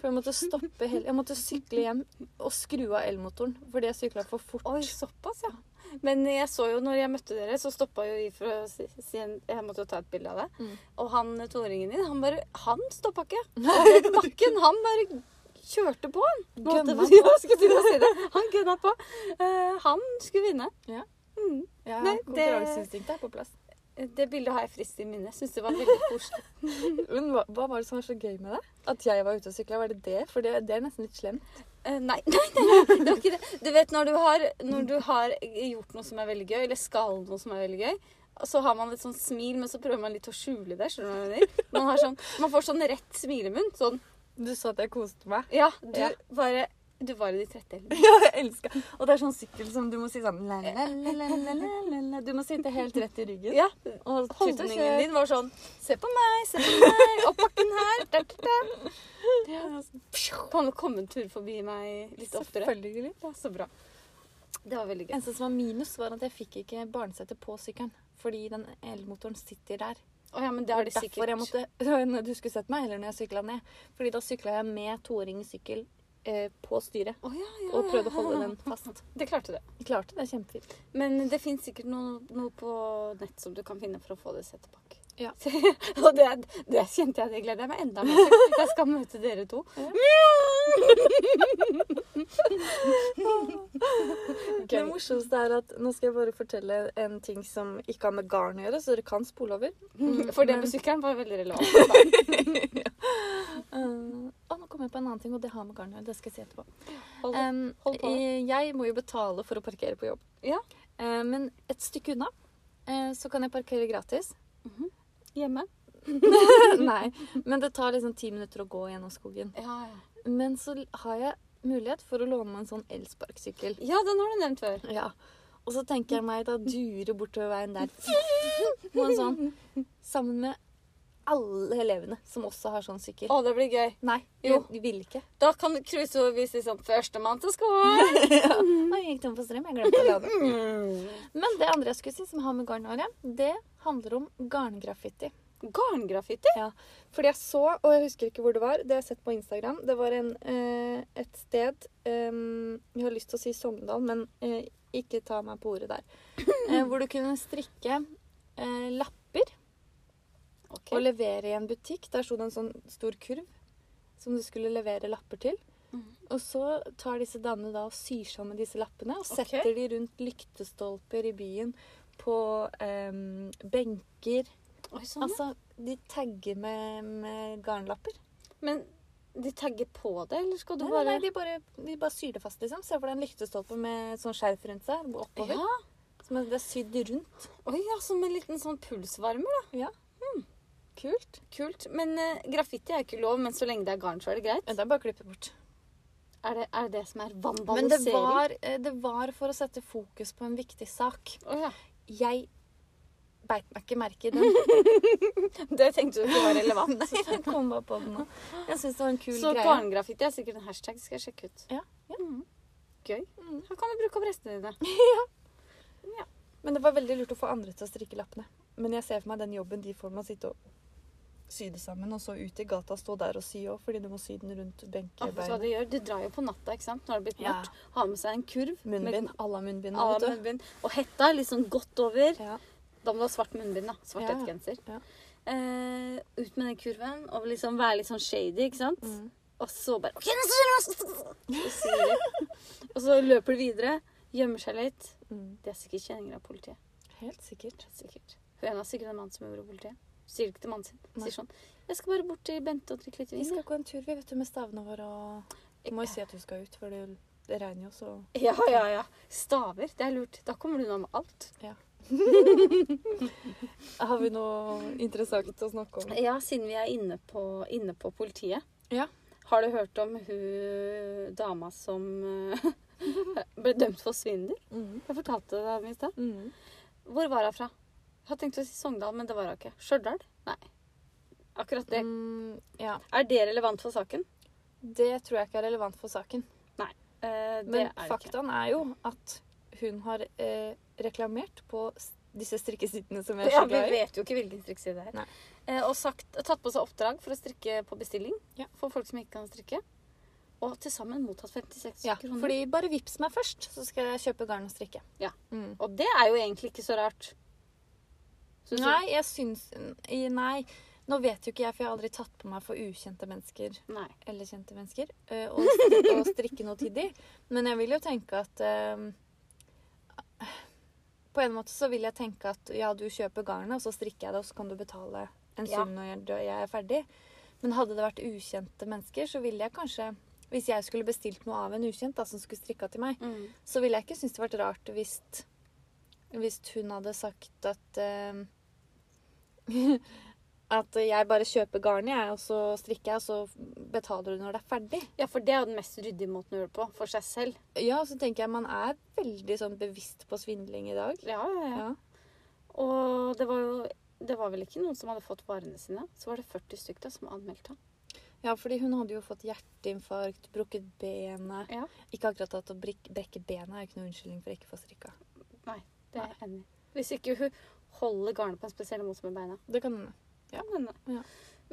S2: For jeg måtte stoppe hele Jeg måtte sykle hjem og skru av elmotoren fordi jeg sykla for fort.
S1: Oi, såpass, ja. Men jeg så jo når jeg møtte dere, så stoppa jo vi for å si, si en, Jeg måtte jo ta et bilde av det.
S2: Mm.
S1: Og han eh, toåringen din, han bare Han stoppa ikke. Han gikk bakken, han bare kjørte på, han.
S2: Gønna
S1: Måtte-
S2: på.
S1: Ja, skulle til å si det. Han gønna på. Eh, han skulle vinne.
S2: Ja.
S1: Mm.
S2: Ja,
S1: Nei, det-
S2: Konkurranseinstinktet er på plass.
S1: Eh, Det bildet har jeg friskt i minne. Syns det var veldig koselig.
S2: Men hva, hva var det som var så gøy med det? At jeg var ute og sykla? Var det det? For det, det er nesten litt slemt.
S1: Eh, nei, nei, nei, det var ikke det. Du vet når du, har, når du har gjort noe som er veldig gøy, eller skal noe som er veldig gøy, så har man et sånt smil, men så prøver man litt å skjule det. skjønner du hva jeg mener? Man, har sånn, man får sånn rett smilemunn. Sånn
S2: Du sa at jeg koste meg.
S1: Ja, du
S2: Ja.
S1: bare Du var i ditt rette element.
S2: Ja, jeg elsker Og det er sånn sykkel som du må si sånn la, la, la, la, la, la, la, la. Du må sitte helt rett i ryggen.
S1: Ja.
S2: Og tut og
S1: Holdningen
S2: kjør.
S1: din var sånn Se på meg, se på meg, opp bakken her. Da, da, da.
S2: Ja,
S1: Kan du komme en tur forbi meg litt oftere?
S2: altså- Selvfølgelig.
S1: Ja, så bra. Det var veldig gøy.
S2: Eneste som var minus, var at jeg fikk ikke barnesete på sykkelen. Fordi den elmotoren sitter der.
S1: Å ja, men det har de
S2: Derfor
S1: sikkert.
S2: jeg måtte Når Du skulle sett meg heller når jeg sykla ned. Fordi da sykla jeg med toåringens sykkel eh, på styret.
S1: Å, ja, ja,
S2: Og prøvde å holde
S1: ja.
S2: den fast.
S1: Det klarte du.
S2: Jeg klarte det kjempefint.
S1: Men det fins sikkert noe, noe på nett som du kan finne for å få det sett tilbake.
S2: Ja.
S1: og det, det kjente jeg, det gleder jeg meg enda mer til. Jeg skal møte dere to.
S2: Ja. Det
S1: Gøy.
S2: morsomste er at Nå skal jeg bare fortelle en ting som ikke har med garn å gjøre, så dere kan spole over.
S1: For det
S2: Men-
S1: med sykkelen var veldig relevant. da.
S2: Eh, å, nå kom jeg på en annen ting, og det har med garn å gjøre. Det skal jeg si etterpå.
S1: Hold opp.
S2: Em,
S1: Hold på.
S2: eh, jeg må jo betale for å parkere på jobb.
S1: Ja.
S2: Eh, men et stykke unna eh, så kan jeg parkere gratis.
S1: Mhm. Hjemme.
S2: Nei, men det tar liksom ti minutter å gå gjennom skogen.
S1: Ja, ja.
S2: Men så l- har jeg mulighet for å låne meg en sånn elsparkesykkel.
S1: ja, den har du nevnt før.
S2: Ja. Og så tenker jeg meg da dure bortover veien der. Noen sånn. Sammen med alle elevene som også har sånn sykkel.
S1: Å, det blir gøy.
S2: Nei,
S1: Jo.
S2: jeg vil ikke.
S1: Da kan du cruise og vise sånn førstemann til skolen.
S2: Oi, jeg gikk tom for strøm. Jeg glemte å lade.
S1: Mm.
S2: Men det andre jeg skulle si, som har med garn å gjøre, det handler om garngraffiti.
S1: Garngraffiti.
S2: Fordi jeg så, og jeg husker ikke hvor det var, det har jeg sett på Instagram Det var en, eh, et sted eh, Jeg har lyst til å si Sogndal, men eh, ikke ta meg på ordet der. Eh, hvor du kunne strikke eh, lapper
S1: Ok.
S2: og levere i en butikk. Der sto det en sånn stor kurv som du skulle levere lapper til.
S1: Mhm.
S2: Og så tar disse damene da og syr sammen disse lappene og
S1: Ok.
S2: setter de rundt lyktestolper i byen, på eh, benker
S1: Oi, sånn. ja.
S2: Altså, de tagger med, med garnlapper.
S1: Men de tagger på det, eller skal du
S2: Nei, nei,
S1: bare
S2: nei, de bare, de bare syr det fast, liksom. Se for deg en lyktestolpe med et sånn skjerf rundt seg oppover.
S1: Ja.
S2: Som er- det er sydd rundt.
S1: Oi, ja, som en liten sånn pulsvarmer, da.
S2: Kult.
S1: Kult. Men eh, graffiti er ikke lov, men så lenge det er garn, så er det greit.
S2: Ja, det er bare å klippe bort.
S1: Er det er det, det som er
S2: Men det
S1: vandalisering?
S2: var, eh, det var for å sette fokus på en viktig sak.
S1: Å, ja.
S2: Jeg beit meg ikke merke i den.
S1: Det tenkte du ikke var relevant.
S2: Nei, jeg kom bare på den nå. Jeg syns det var en kul
S1: så
S2: greie.
S1: garngraffiti er sikkert en hashtag. Skal jeg sjekke ut.
S2: Ja, ja.
S1: Mhm. Gøy.
S2: Mhm.
S1: Her kan du bruke opp restene dine.
S2: Men det var veldig lurt å få andre til å strikke lappene. Men jeg ser for meg den jobben de får med å sitte og sy det sammen, og så ut i gata stå der og sy òg, fordi du må sy den rundt
S1: Ah, vet du hva
S2: benkebein.
S1: det gjør? Du drar jo på natta, ikke sant? Nå har det blitt
S2: Ja.
S1: mørkt. Har med seg en kurv. med-
S2: Munnbind. Alle har munnbind.
S1: Ah,
S2: nå, vet du.
S1: munnbind. Og hetta er liksom godt over.
S2: Ja.
S1: Da må du ha svart munnbind. da. Svart
S2: Ja.
S1: hettegenser.
S2: Ja.
S1: Eh, ut med den kurven og liksom være litt sånn shady, ikke sant?
S2: Mm.
S1: Og så bare «Ok, nå skal vi gjøre oss!» Og sier- Og så løper du videre, gjemmer seg litt.
S2: Mm.
S1: Det er sikkert kjenninger av politiet.
S2: Helt sikkert.
S1: Helt Sikkert. Hun ene har sikkert en mann som gjorde politiet. Sier det ikke til mannen sin.
S2: Nei.
S1: Sier sånn 'Jeg skal bare bort til Bente og drikke litt
S2: Vi
S1: vin.'
S2: skal gå en tur vi vet du, med stavene våre. og Du
S1: jeg.»
S2: må jo si at du skal ut, for det, det regner jo, så
S1: Ja, ja, ja. Staver. Det er lurt. Da kommer du unna med alt.
S2: Har vi noe interessant å snakke om?
S1: Ja, siden vi er inne på, inne på politiet.
S2: Ja.
S1: Har du hørt om hun dama som eh, ble dømt for svindel?
S2: Mm.
S1: Jeg fortalte deg om i stad.
S2: Mm.
S1: Hvor var hun fra? Jeg har tenkt å si Sogndal, men det var hun ikke. Stjørdal? Nei. Akkurat det.
S2: Mm, ja.
S1: Er det relevant for saken?
S2: Det tror jeg ikke er relevant for saken.
S1: Eh, det
S2: Men
S1: er det ikke.
S2: faktaen er jo at hun har eh, reklamert på s- disse strikkesittene som jeg er
S1: Ja,
S2: så
S1: vi
S2: glad i.
S1: vet jo ikke hvilken strikkside det er.
S2: Nei.
S1: Eh, og sagt, tatt på seg oppdrag for å strikke på bestilling
S2: Ja.
S1: for folk som ikke kan strikke. Og til sammen mottatt 56
S2: Ja,
S1: kroner.
S2: fordi bare vips meg først, så skal jeg kjøpe garn og strikke.
S1: Ja.
S2: Mm.
S1: Og det er jo egentlig ikke så rart. Synes du?
S2: Nei, jeg syns i- Nei, nå vet jo ikke jeg, for jeg har aldri tatt på meg for ukjente mennesker
S1: Nei.
S2: eller kjente mennesker eh, å strikke, å strikke noe til de. Men jeg vil jo tenke at eh, På en måte så vil jeg tenke at ja, du kjøper garnet, og så strikker jeg det, og så kan du betale en
S1: Ja.
S2: sum når jeg- når jeg er ferdig. Men hadde det vært ukjente mennesker, så ville jeg kanskje Hvis jeg skulle bestilt noe av en ukjent da, som skulle strikka til meg,
S1: Mm.
S2: så ville jeg ikke synes det vært rart hvis, hvis hun hadde sagt at eh, At jeg bare kjøper garnet, jeg, og så strikker jeg, og så betaler du når det er ferdig.
S1: Ja, for det er jo den mest ryddige måten å gjøre det på. For seg selv.
S2: Ja, så tenker jeg man er veldig sånn bevisst på svindling i dag.
S1: Ja, ja, ja.
S2: Ja.
S1: Og det var jo det var vel ikke noen som hadde fått varene sine. Så var det 40 stykk da som anmeldte han.
S2: Ja, fordi hun hadde jo fått hjerteinfarkt, brukket benet
S1: Ja.
S2: Ikke akkurat at å brik- brekke benet er jo ikke noe unnskyldning for ikke å få strikka.
S1: Det er jeg enig i. Hvis ikke hun holder garnet på en spesiell måte med beina.
S2: Det kan hende. Ja.
S1: Kan hende.
S2: Ja.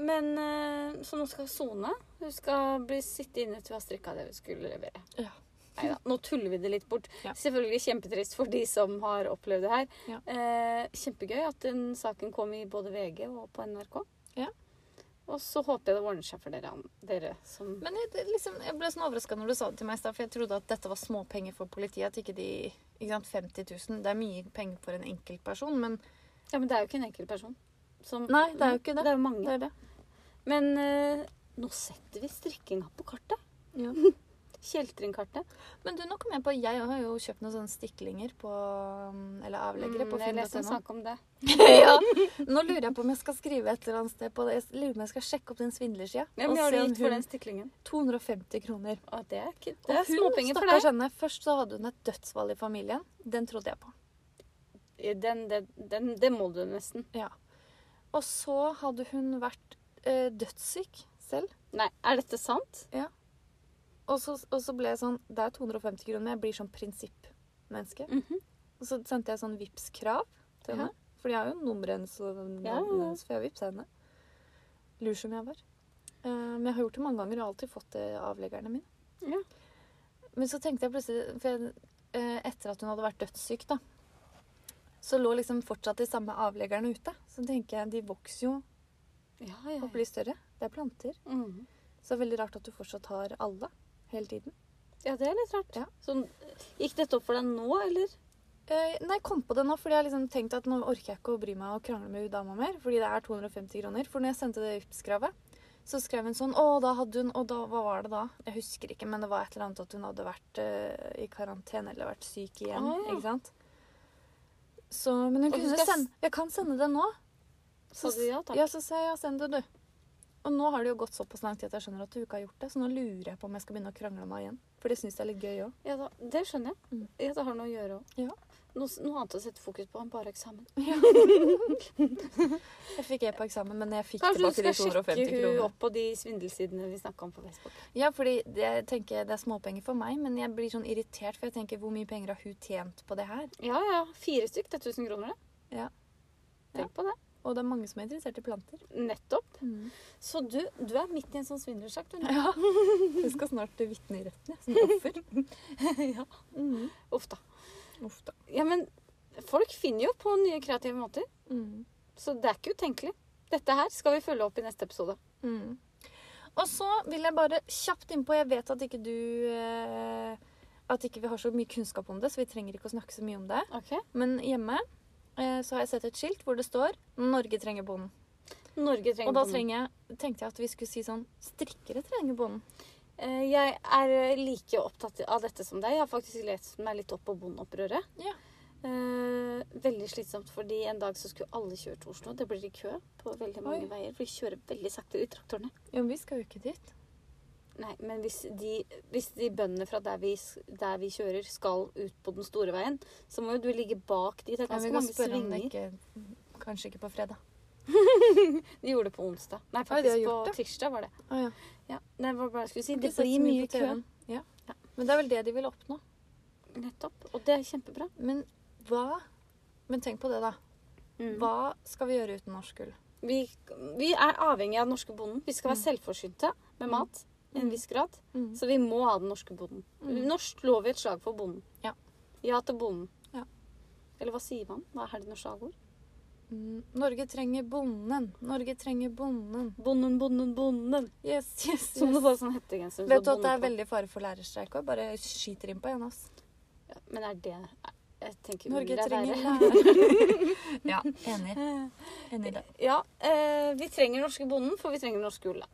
S1: Men eh, så nå skal hun sone. Hun skal bli sitte inne til hun har strikka det hun skulle levere.
S2: Ja.
S1: Neida, nå tuller vi det litt bort.
S2: Ja.
S1: Selvfølgelig kjempetrist for de som har opplevd det her.
S2: Ja.
S1: Eh, kjempegøy at den saken kom i både VG og på NRK.
S2: Ja.
S1: Og så håper jeg det ordner seg for dere, an- dere som
S2: Men jeg, det- liksom, jeg ble sånn overraska når du sa det til meg i stad, for jeg trodde at dette var småpenger for politiet. At ikke de ikke sant, 50 000 Det er mye penger for en enkeltperson, men
S1: Ja, men det er jo ikke en enkelt person. Som,
S2: Nei, det er jo ikke det.
S1: Det er jo mange.
S2: det er det.
S1: Men eh, nå setter vi strikkinga på kartet.
S2: Ja.
S1: Kjeltringkartet.
S2: Men du, nå kom jeg på Jeg har jo kjøpt noen sånne stiklinger på Eller avleggere på
S1: Mm, jeg leste en
S2: finn.no.
S1: sak om det.
S2: ja. Nå lurer jeg på om jeg skal skrive et eller annet sted på det. Jeg lurer på om jeg skal sjekke opp den svindlersida.
S1: Hvem har du gitt for den stiklingen?
S2: 250 kroner.
S1: Å, det er, ikke,
S2: Og
S1: det er
S2: hun,
S1: småpenger for
S2: stakkars
S1: deg.
S2: henne, først så hadde hun et dødsfall i familien. Den trodde jeg på.
S1: Den, den, den, det må du nesten.
S2: Ja. Og så hadde hun vært eh, dødssyk selv.
S1: Nei, er dette sant?
S2: Og så, og så ble jeg sånn Det er 250 kroner, men jeg blir sånn prinsippmenneske.
S1: Mhm.
S2: Og så sendte jeg sånn Vipps-krav til
S1: Ja.
S2: henne. For jeg har jo nummeret hennes og navnet
S1: Ja, ja, ja.
S2: hennes, for jeg har vippsa henne. Lur som jeg var. Eh, men jeg har gjort det mange ganger og alltid fått det av avleggerne mine.
S1: Ja.
S2: Men så tenkte jeg plutselig For jeg, eh, etter at hun hadde vært dødssyk, da, så lå liksom fortsatt de samme avleggerne ute. Så tenker jeg, de vokser jo
S1: Ja, ja.
S2: og blir større. Det er planter.
S1: Mhm.
S2: Så det er veldig rart at du fortsatt har alle hele tiden.
S1: ja, det er litt rart.
S2: Ja.
S1: Sånn, gikk dette opp for deg nå, eller?
S2: Eh, nei, jeg kom på det nå, fordi jeg har liksom tenkt at nå orker jeg ikke å bry meg og krangle med hun dama mer, fordi det er 250 kroner. For når jeg sendte det Vipps-kravet, så skrev hun sånn Å, da hadde hun Og da, hva var det da? Jeg husker ikke, men det var et eller annet at hun hadde vært eh, i karantene eller vært syk igjen.
S1: Ah, ja.
S2: Ikke sant? Så Men hun
S1: Og du
S2: kunne
S1: skal s-
S2: sende Jeg kan sende det nå.
S1: Sa du ja takk?
S2: Ja, så sa jeg ja, send det, du. Og nå har det jo gått såpass lang tid at jeg skjønner at du ikke har gjort det, så nå lurer jeg på om jeg skal begynne å krangle meg igjen. For det syns jeg er litt gøy òg.
S1: Ja, da, det skjønner jeg.
S2: Mm.
S1: Ja, det har noe å gjøre òg.
S2: Ja.
S1: Noe, s- noe annet å sette fokus på enn bare eksamen.
S2: Jeg fikk E på eksamen, men jeg fikk
S1: Kanskje du
S2: tilbake de
S1: Altså, skal
S2: 250
S1: sjekke
S2: kronene.
S1: hun opp på de svindelsidene vi snakka om på Facebook.
S2: Ja, fordi det, jeg tenker det er småpenger for meg, men jeg blir sånn irritert, for jeg tenker hvor mye penger har hun tjent på det her?
S1: Ja ja. Fire stykk, det er 1000 kroner, det.
S2: Ja.
S1: Tenk på det.
S2: Og det er mange som er interessert i planter.
S1: Nettopp. Så du, du er midt i en sånn svindelsjakt, du. nå.
S2: Ja. Du skal snart til vitne i retten, jeg, som offer.
S1: ja.
S2: Mm.
S1: Uff da.
S2: Uff da.
S1: Ja, men folk finner jo på nye kreative måter,
S2: Mm.
S1: så det er ikke utenkelig. Dette her skal vi følge opp i neste episode.
S2: Mm. Og så vil jeg bare kjapt innpå Jeg vet at ikke du eh, At ikke vi har så mye kunnskap om det, så vi trenger ikke å snakke så mye om det.
S1: Ok.
S2: Men hjemme eh, så har jeg sett et skilt hvor det står 'Norge trenger bonden'.
S1: Norge trenger
S2: Og da
S1: bonden.
S2: trenger jeg, tenkte jeg at vi skulle si sånn 'Strikkere trenger bonden'.
S1: Eh, Jeg er like opptatt av dette som deg. Jeg har faktisk lest meg litt opp på bondeopprøret.
S2: Ja.
S1: Eh, veldig slitsomt, fordi en dag så skulle alle kjøre til Oslo. Det blir i kø på veldig mange
S2: Oi.
S1: veier, for de kjører veldig sakte, de traktorene.
S2: Ja, men vi skal jo ikke dit.
S1: Nei, men hvis de, hvis de bøndene fra der vi, s- der vi kjører, skal ut på den store veien, så må jo du ligge bak de. Det er
S2: Ja,
S1: ganske
S2: vi kan
S1: mange
S2: spørre om
S1: svinger.
S2: det ikke Kanskje ikke på fredag.
S1: De gjorde det på onsdag. Nei,
S2: Oi, de har
S1: faktisk på
S2: gjort det.
S1: tirsdag var det.
S2: Å ja.
S1: Ja, Nei, hva var det jeg skulle si?
S2: Ikke
S1: Det
S2: sett så
S1: blir mye
S2: på
S1: kø.
S2: TV-en. Ja.
S1: Ja.
S2: Men det er vel det de vil oppnå.
S1: Nettopp. Og det er kjempebra.
S2: Men hva Men tenk på det, da.
S1: Mm.
S2: Hva skal vi gjøre uten norsk gull?
S1: Vi, vi er avhengig av den norske bonden. Vi skal være
S2: Mm.
S1: selvforsynte med
S2: Mm.
S1: mat i en
S2: Mm.
S1: viss grad.
S2: Mm.
S1: Så vi må ha den norske bonden.
S2: Mm.
S1: Norsk lov i et slag for bonden.
S2: Ja.
S1: Ja til bonden.
S2: Ja.
S1: Eller hva sier man? Hva er det norske slagord?
S2: Mm, Norge trenger bonden. Norge trenger bonden.
S1: Bonden, bonden, bonden.
S2: Yes, yes,
S1: Som
S2: yes.
S1: det var sånn hettegenser.
S2: Vet du at det er veldig fare for lærerstreik òg? Bare skyter inn på igjen, ass.
S1: ja, Men er det Jeg tenker
S2: Norge
S1: vil det
S2: trenger
S1: være-
S2: lærere. ja, enig.
S1: Eh,
S2: Enig i det.
S1: Ja, eh, vi trenger den norske bonden, for vi trenger den norske ulla.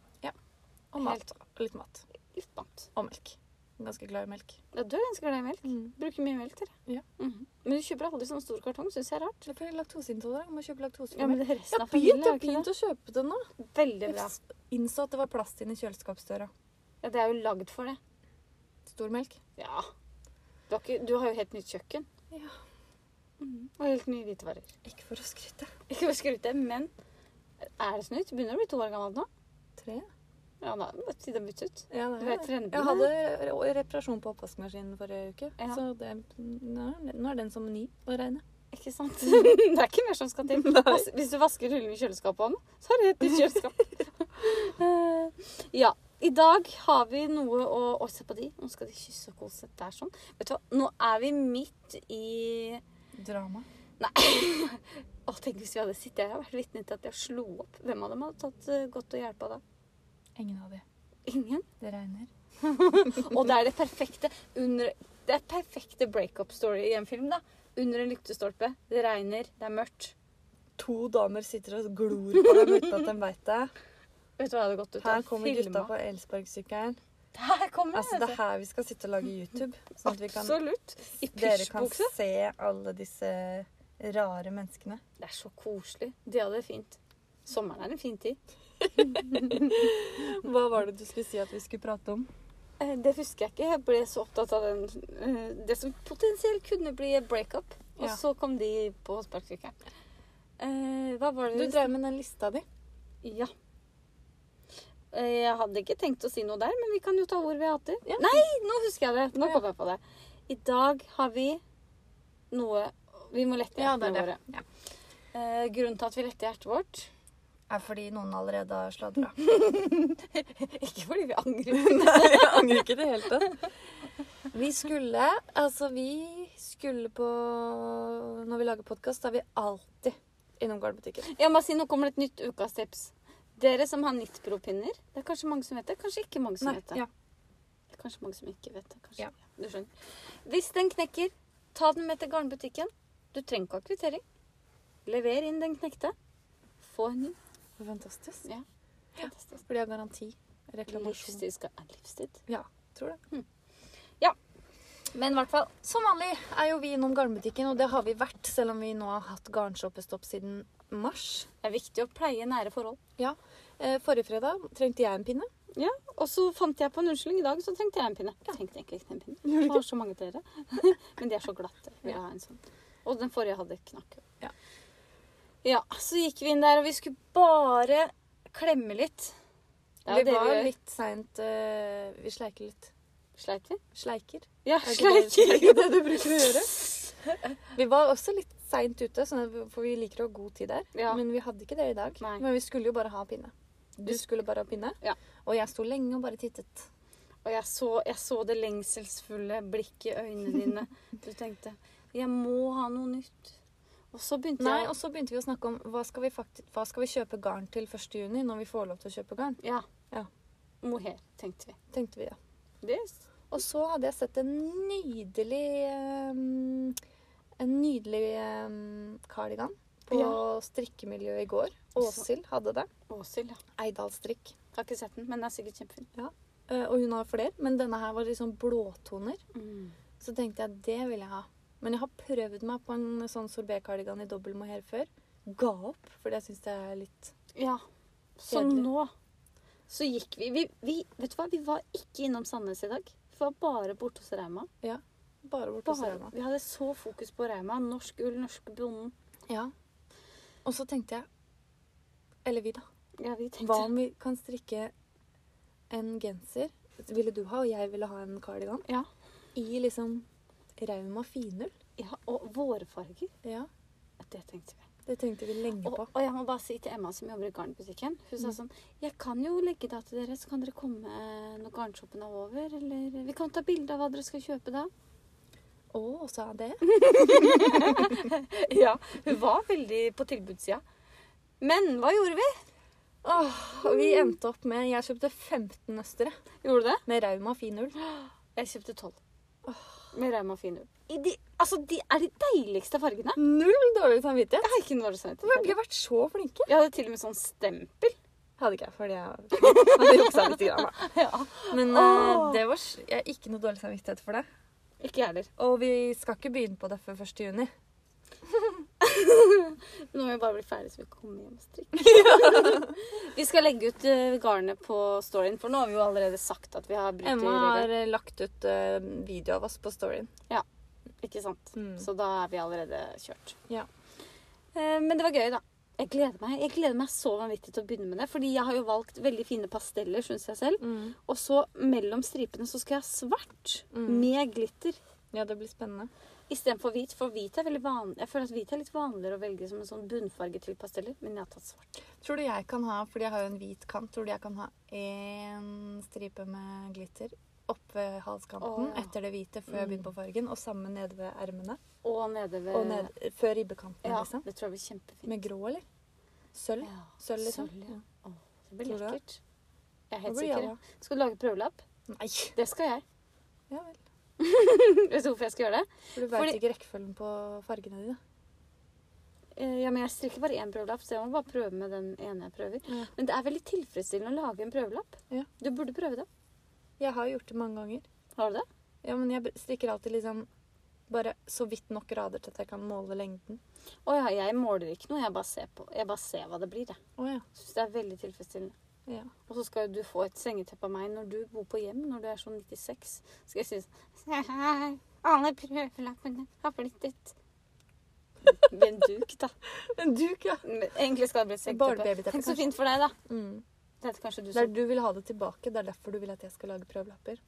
S2: Og mat. Og litt mat.
S1: Litt mat.
S2: Og melk. Ganske glad i melk.
S1: Ja, du er ganske glad i melk. Bruker mye melk, dere.
S2: Mm. Ja.
S1: Mhm. Men du kjøper aldri sånn stor kartong, syns jeg er rart.
S2: Jeg får laktoseintolerant. Må kjøpe laktosefri
S1: Ja, men
S2: melk.
S1: det resten
S2: Jeg
S1: av
S2: har begynt,
S1: familien
S2: jeg
S1: har
S2: har
S1: ikke
S2: begynt å kjøpe det nå.
S1: det. Veldig
S2: Jeg
S1: bra.
S2: s- innså at det var plast inni kjøleskapsdøra.
S1: Ja, det er jo lagd for det.
S2: Stor melk.
S1: Ja. Du har, ikke, du har jo helt nytt kjøkken.
S2: Ja.
S1: Mhm. Og helt nye hvitevarer.
S2: Ikke for å skryte.
S1: Ikke for å skryte, men er det så nytt? Begynner å bli to år gammelt nå.
S2: Tre?
S1: Ja, da er det på tide å bytte ut.
S2: Ja,
S1: Du vet trenden.
S2: Jeg hadde re- reparasjon på oppvaskmaskinen forrige uke,
S1: Ja.
S2: så det, nå er den- nå er den som ny å regne.
S1: Ikke sant? Det er ikke mer som skal til. Vas- Hvis du vasker rullen i kjøleskapet om, så har du et nytt kjøleskap. Eh, ja. I dag har vi noe å Å, se på de. Nå skal de kysse og kose. Det er sånn. Vet du hva, nå er vi midt i
S2: Drama.
S1: Å, tenk hvis vi hadde sittet her og vært vitne til at jeg slo opp. Hvem av dem hadde tatt eh, godt og hjelpa da?
S2: Ingen av de.
S1: Ingen.
S2: Det regner.
S1: Og det er det perfekte under Det er perfekte breakup-story i en film, da. Under en lyktestolpe. Det regner, det er mørkt.
S2: To damer sitter og glor på dem uten at de veit det.
S1: Vet du hva jeg hadde gått ut
S2: Her
S1: og
S2: kommer gutta
S1: filmet?
S2: på elsparkesykkelen.
S1: Her kommer
S2: Altså, det
S1: altså.
S2: er her vi skal sitte og lage YouTube. Sånn at vi kan,
S1: Absolutt. I
S2: dere kan
S1: pysjbukse.
S2: se alle disse rare menneskene.
S1: Det er så koselig. De hadde det fint. Sommeren er en fin tid.
S2: Hva var det du skulle si at vi skulle prate om?
S1: Eh, Det husker jeg ikke. Jeg ble så opptatt av den, eh, det som potensielt kunne bli et breakup. Og
S2: Ja.
S1: så kom de på sparkesykkelen. Eh, hva var
S2: Du
S1: det
S2: drev med den lista di.
S1: Ja. Eh, Jeg hadde ikke tenkt å si noe der, men vi kan jo ta ord vi har hatt det.
S2: Ja.
S1: Nei, nå husker jeg det! Nå
S2: Å, ja.
S1: kom jeg på det. I dag har vi noe Vi må lette i
S2: Ja, det
S1: hjertene
S2: er
S1: våre.
S2: det. Ja.
S1: Eh, grunnen til at vi letter i hjertet vårt
S2: Er fordi noen allerede har sladra.
S1: Ikke fordi vi angrer.
S2: Nei, jeg angrer ikke i det hele tatt. Vi skulle Altså, vi skulle på Når vi lager podkast, er vi alltid innom garnbutikken.
S1: Jeg må si, Nå kommer det et nytt ukas tips. Dere som har Nittpro-pinner Det er kanskje mange som vet det, kanskje ikke mange som
S2: Nei,
S1: vet det.
S2: ja.
S1: Kanskje mange som ikke vet det. kanskje.
S2: Ja.
S1: Du skjønner. Hvis den knekker, ta den med til garnbutikken. Du trenger ikke ha kvittering. Lever inn den knekte. Få en ny.
S2: Det er Fantastisk.
S1: Ja. Fantastisk.
S2: For de har garanti. Reklamasjon.
S1: Livstid skal er livstid.
S2: Ja, tror det.
S1: Men i hvert fall
S2: Som vanlig er jo vi innom garnbutikken, og det har vi vært, selv om vi nå har hatt garnshoppestopp siden mars.
S1: det er viktig å pleie nære forhold.
S2: Ja. Eh, Forrige fredag trengte jeg en pinne.
S1: Ja, Og så fant jeg på en unnskyldning i dag, så trengte jeg en pinne. Jeg Trengte egentlig ikke en pinne. Jeg har så mange til dere. Men de er så glatte. Jeg vil
S2: Ja.
S1: ha en sånn. Og den forrige hadde knakk.
S2: Ja.
S1: ja. Så gikk vi inn der, og vi skulle bare klemme litt. Det er jo
S2: vi
S1: det
S2: var
S1: vi gjør.
S2: litt seint eh, Vi sleiker litt.
S1: Sleit vi?
S2: Sleiker.
S1: Ja,
S2: Er ikke det-
S1: sleiker.
S2: er ikke det du bruker å gjøre? Vi var også litt seint ute, sånn at vi, for vi liker å ha god tid der.
S1: Ja.
S2: Men vi hadde ikke det i dag.
S1: Nei.
S2: Men vi skulle jo bare ha pinne. Du skulle bare ha pinne.
S1: Ja.
S2: Og jeg sto lenge og bare tittet.
S1: Og jeg så, jeg så det lengselsfulle blikket i øynene dine. Du tenkte 'Jeg må ha noe nytt'. Og så begynte
S2: Nei,
S1: jeg
S2: Og så begynte vi å snakke om hva skal vi, fakti- hva skal vi kjøpe garn til 1. juni, når vi får lov til å kjøpe garn.
S1: Ja.
S2: Ja.
S1: Mohair, tenkte vi.
S2: tenkte vi ja.
S1: Det,
S2: Og så hadde jeg sett en nydelig ehm, En nydelig ehm, kardigan på
S1: Ja.
S2: strikkemiljøet i går. Åshild hadde det.
S1: Åshild, ja.
S2: Eidal strikk.
S1: Har ikke sett den, men den er sikkert kjempefin.
S2: Eh, Og hun har flere, men denne her var liksom blåtoner.
S1: Mm.
S2: Så tenkte jeg det vil jeg ha. Men jeg har prøvd meg på en sånn sorbetkardigan i dobbel mohair før. Ga opp, fordi jeg syns det er litt
S1: Ja. Så
S2: Kjedelig.
S1: nå så gikk vi. Vi, vi Vet du hva, vi var ikke innom Sandnes i dag. Vi var bare borte hos Reima.
S2: bare bort hos
S1: Bare,
S2: Rema.
S1: vi hadde så fokus på Reima. Norsk ull, norske bonden.
S2: Ja. Og så tenkte jeg Eller vi, da.
S1: Ja, vi tenkte
S2: Hva om vi kan strikke en genser? Ville du ha, og jeg ville ha en kardigan?
S1: Ja.
S2: I liksom Rauma finull?
S1: ja, Og vårfarger.
S2: Ja.
S1: Det tenkte vi.
S2: Det tenkte vi lenge
S1: Og,
S2: på.
S1: og jeg må bare si til Emma som jobber i garnbutikken Hun sa
S2: Mm.
S1: sånn Jeg kan jo legge det til dere, så kan dere komme eh, når garnshoppen er over. Eller vi kan ta bilde av hva dere skal kjøpe da.
S2: Å, sa jeg det?
S1: Ja, hun var veldig på tilbudssida. Men hva gjorde vi?
S2: Åh, og vi endte opp med Jeg kjøpte 15 nøstere
S1: Gjorde du det?
S2: med Rauma finull.
S1: Jeg kjøpte tolv. Med Rauma Finull. I de, altså, de er de deiligste fargene.
S2: Null dårlig samvittighet.
S1: Jeg har ikke noe dårlig samvittighet.
S2: Men
S1: for
S2: Vi
S1: det.
S2: har vært så flinke.
S1: Jeg hadde til og med sånn stempel.
S2: Hadde ikke jeg, fordi jeg hadde juksa litt. Grann, da.
S1: Ja.
S2: Men
S1: Åh.
S2: eh, det var, s- jeg har ikke noe dårlig samvittighet for det.
S1: Ikke jeg heller.
S2: Og vi skal ikke begynne på det før 1. juni.
S1: Nå må vi bare bli ferdig, så vi kan komme hjem og strikke. vi skal legge ut eh, garnet på storyen, for nå har vi jo allerede sagt at vi har brutt
S2: Emma
S1: regler.
S2: har eh, lagt ut eh, video av oss på storyen.
S1: Ikke sant?
S2: Mm.
S1: Så da er vi allerede kjørt.
S2: Ja.
S1: Eh, Men det var gøy, da. Jeg gleder meg Jeg gleder meg så vanvittig til å begynne med det. Fordi jeg har jo valgt veldig fine pasteller, syns jeg selv. Og så mellom stripene så skal jeg ha svart
S2: Mm.
S1: med glitter.
S2: Ja, det blir spennende.
S1: Istedenfor hvit, for hvit er veldig vanlig. Jeg føler at hvit er litt vanligere å velge som en sånn bunnfarge til pasteller, men jeg har tatt svart.
S2: Tror du jeg kan ha, fordi jeg har jo en hvit kant, tror du jeg kan ha én stripe med glitter opp ved halskanten
S1: Åh. Mm.
S2: etter det hvite før jeg begynner på fargen, og samme nede ved ermene?
S1: Og nede ved
S2: Og ned, før ribbekanten,
S1: Ja,
S2: liksom?
S1: det tror jeg blir kjempefint.
S2: Med grå, eller? Sølv?
S1: Ja,
S2: Sølv, liksom?
S1: sølv,
S2: Ja.
S1: ja. Å, det blir
S2: Tror du det?
S1: lekkert. Jeg er
S2: Da
S1: helt
S2: blir jeg
S1: sikker. ja. Skal du lage prøvelapp?
S2: Nei!
S1: Det skal jeg.
S2: Ja vel.
S1: Vet du hvorfor jeg skal gjøre det?
S2: For du
S1: Fordi-
S2: veit ikke rekkefølgen på fargene dine.
S1: Eh, Ja, men Jeg strikker bare én prøvelapp, så jeg må bare prøve med den ene jeg prøver.
S2: Ja.
S1: Men det er veldig tilfredsstillende å lage en prøvelapp.
S2: Ja.
S1: Du burde prøve det.
S2: Jeg har gjort det mange ganger.
S1: Har du det?
S2: Ja, men jeg strikker alltid liksom bare så vidt nok rader til at jeg kan måle lengden.
S1: Å ja, jeg måler ikke noe, jeg bare ser på. Jeg bare ser hva det blir, jeg.
S2: Å ja.
S1: Syns det er veldig tilfredsstillende.
S2: ja.
S1: Og så skal jo du få et sengeteppe av meg når du bor på hjem, når du er sånn 96. Skal jeg si sånn Se her, alle prøvelappene har flyttet. Med en duk, da.
S2: En duk, ja.
S1: Men Egentlig skal det bli et sengeteppe.
S2: Barnebabyteppe,
S1: Tenk så
S2: kanskje.
S1: fint for deg, da.
S2: Mm.
S1: Det er kanskje du
S2: Det er
S1: som
S2: du vil ha det tilbake. Det er derfor du vil at jeg skal lage prøvelapper.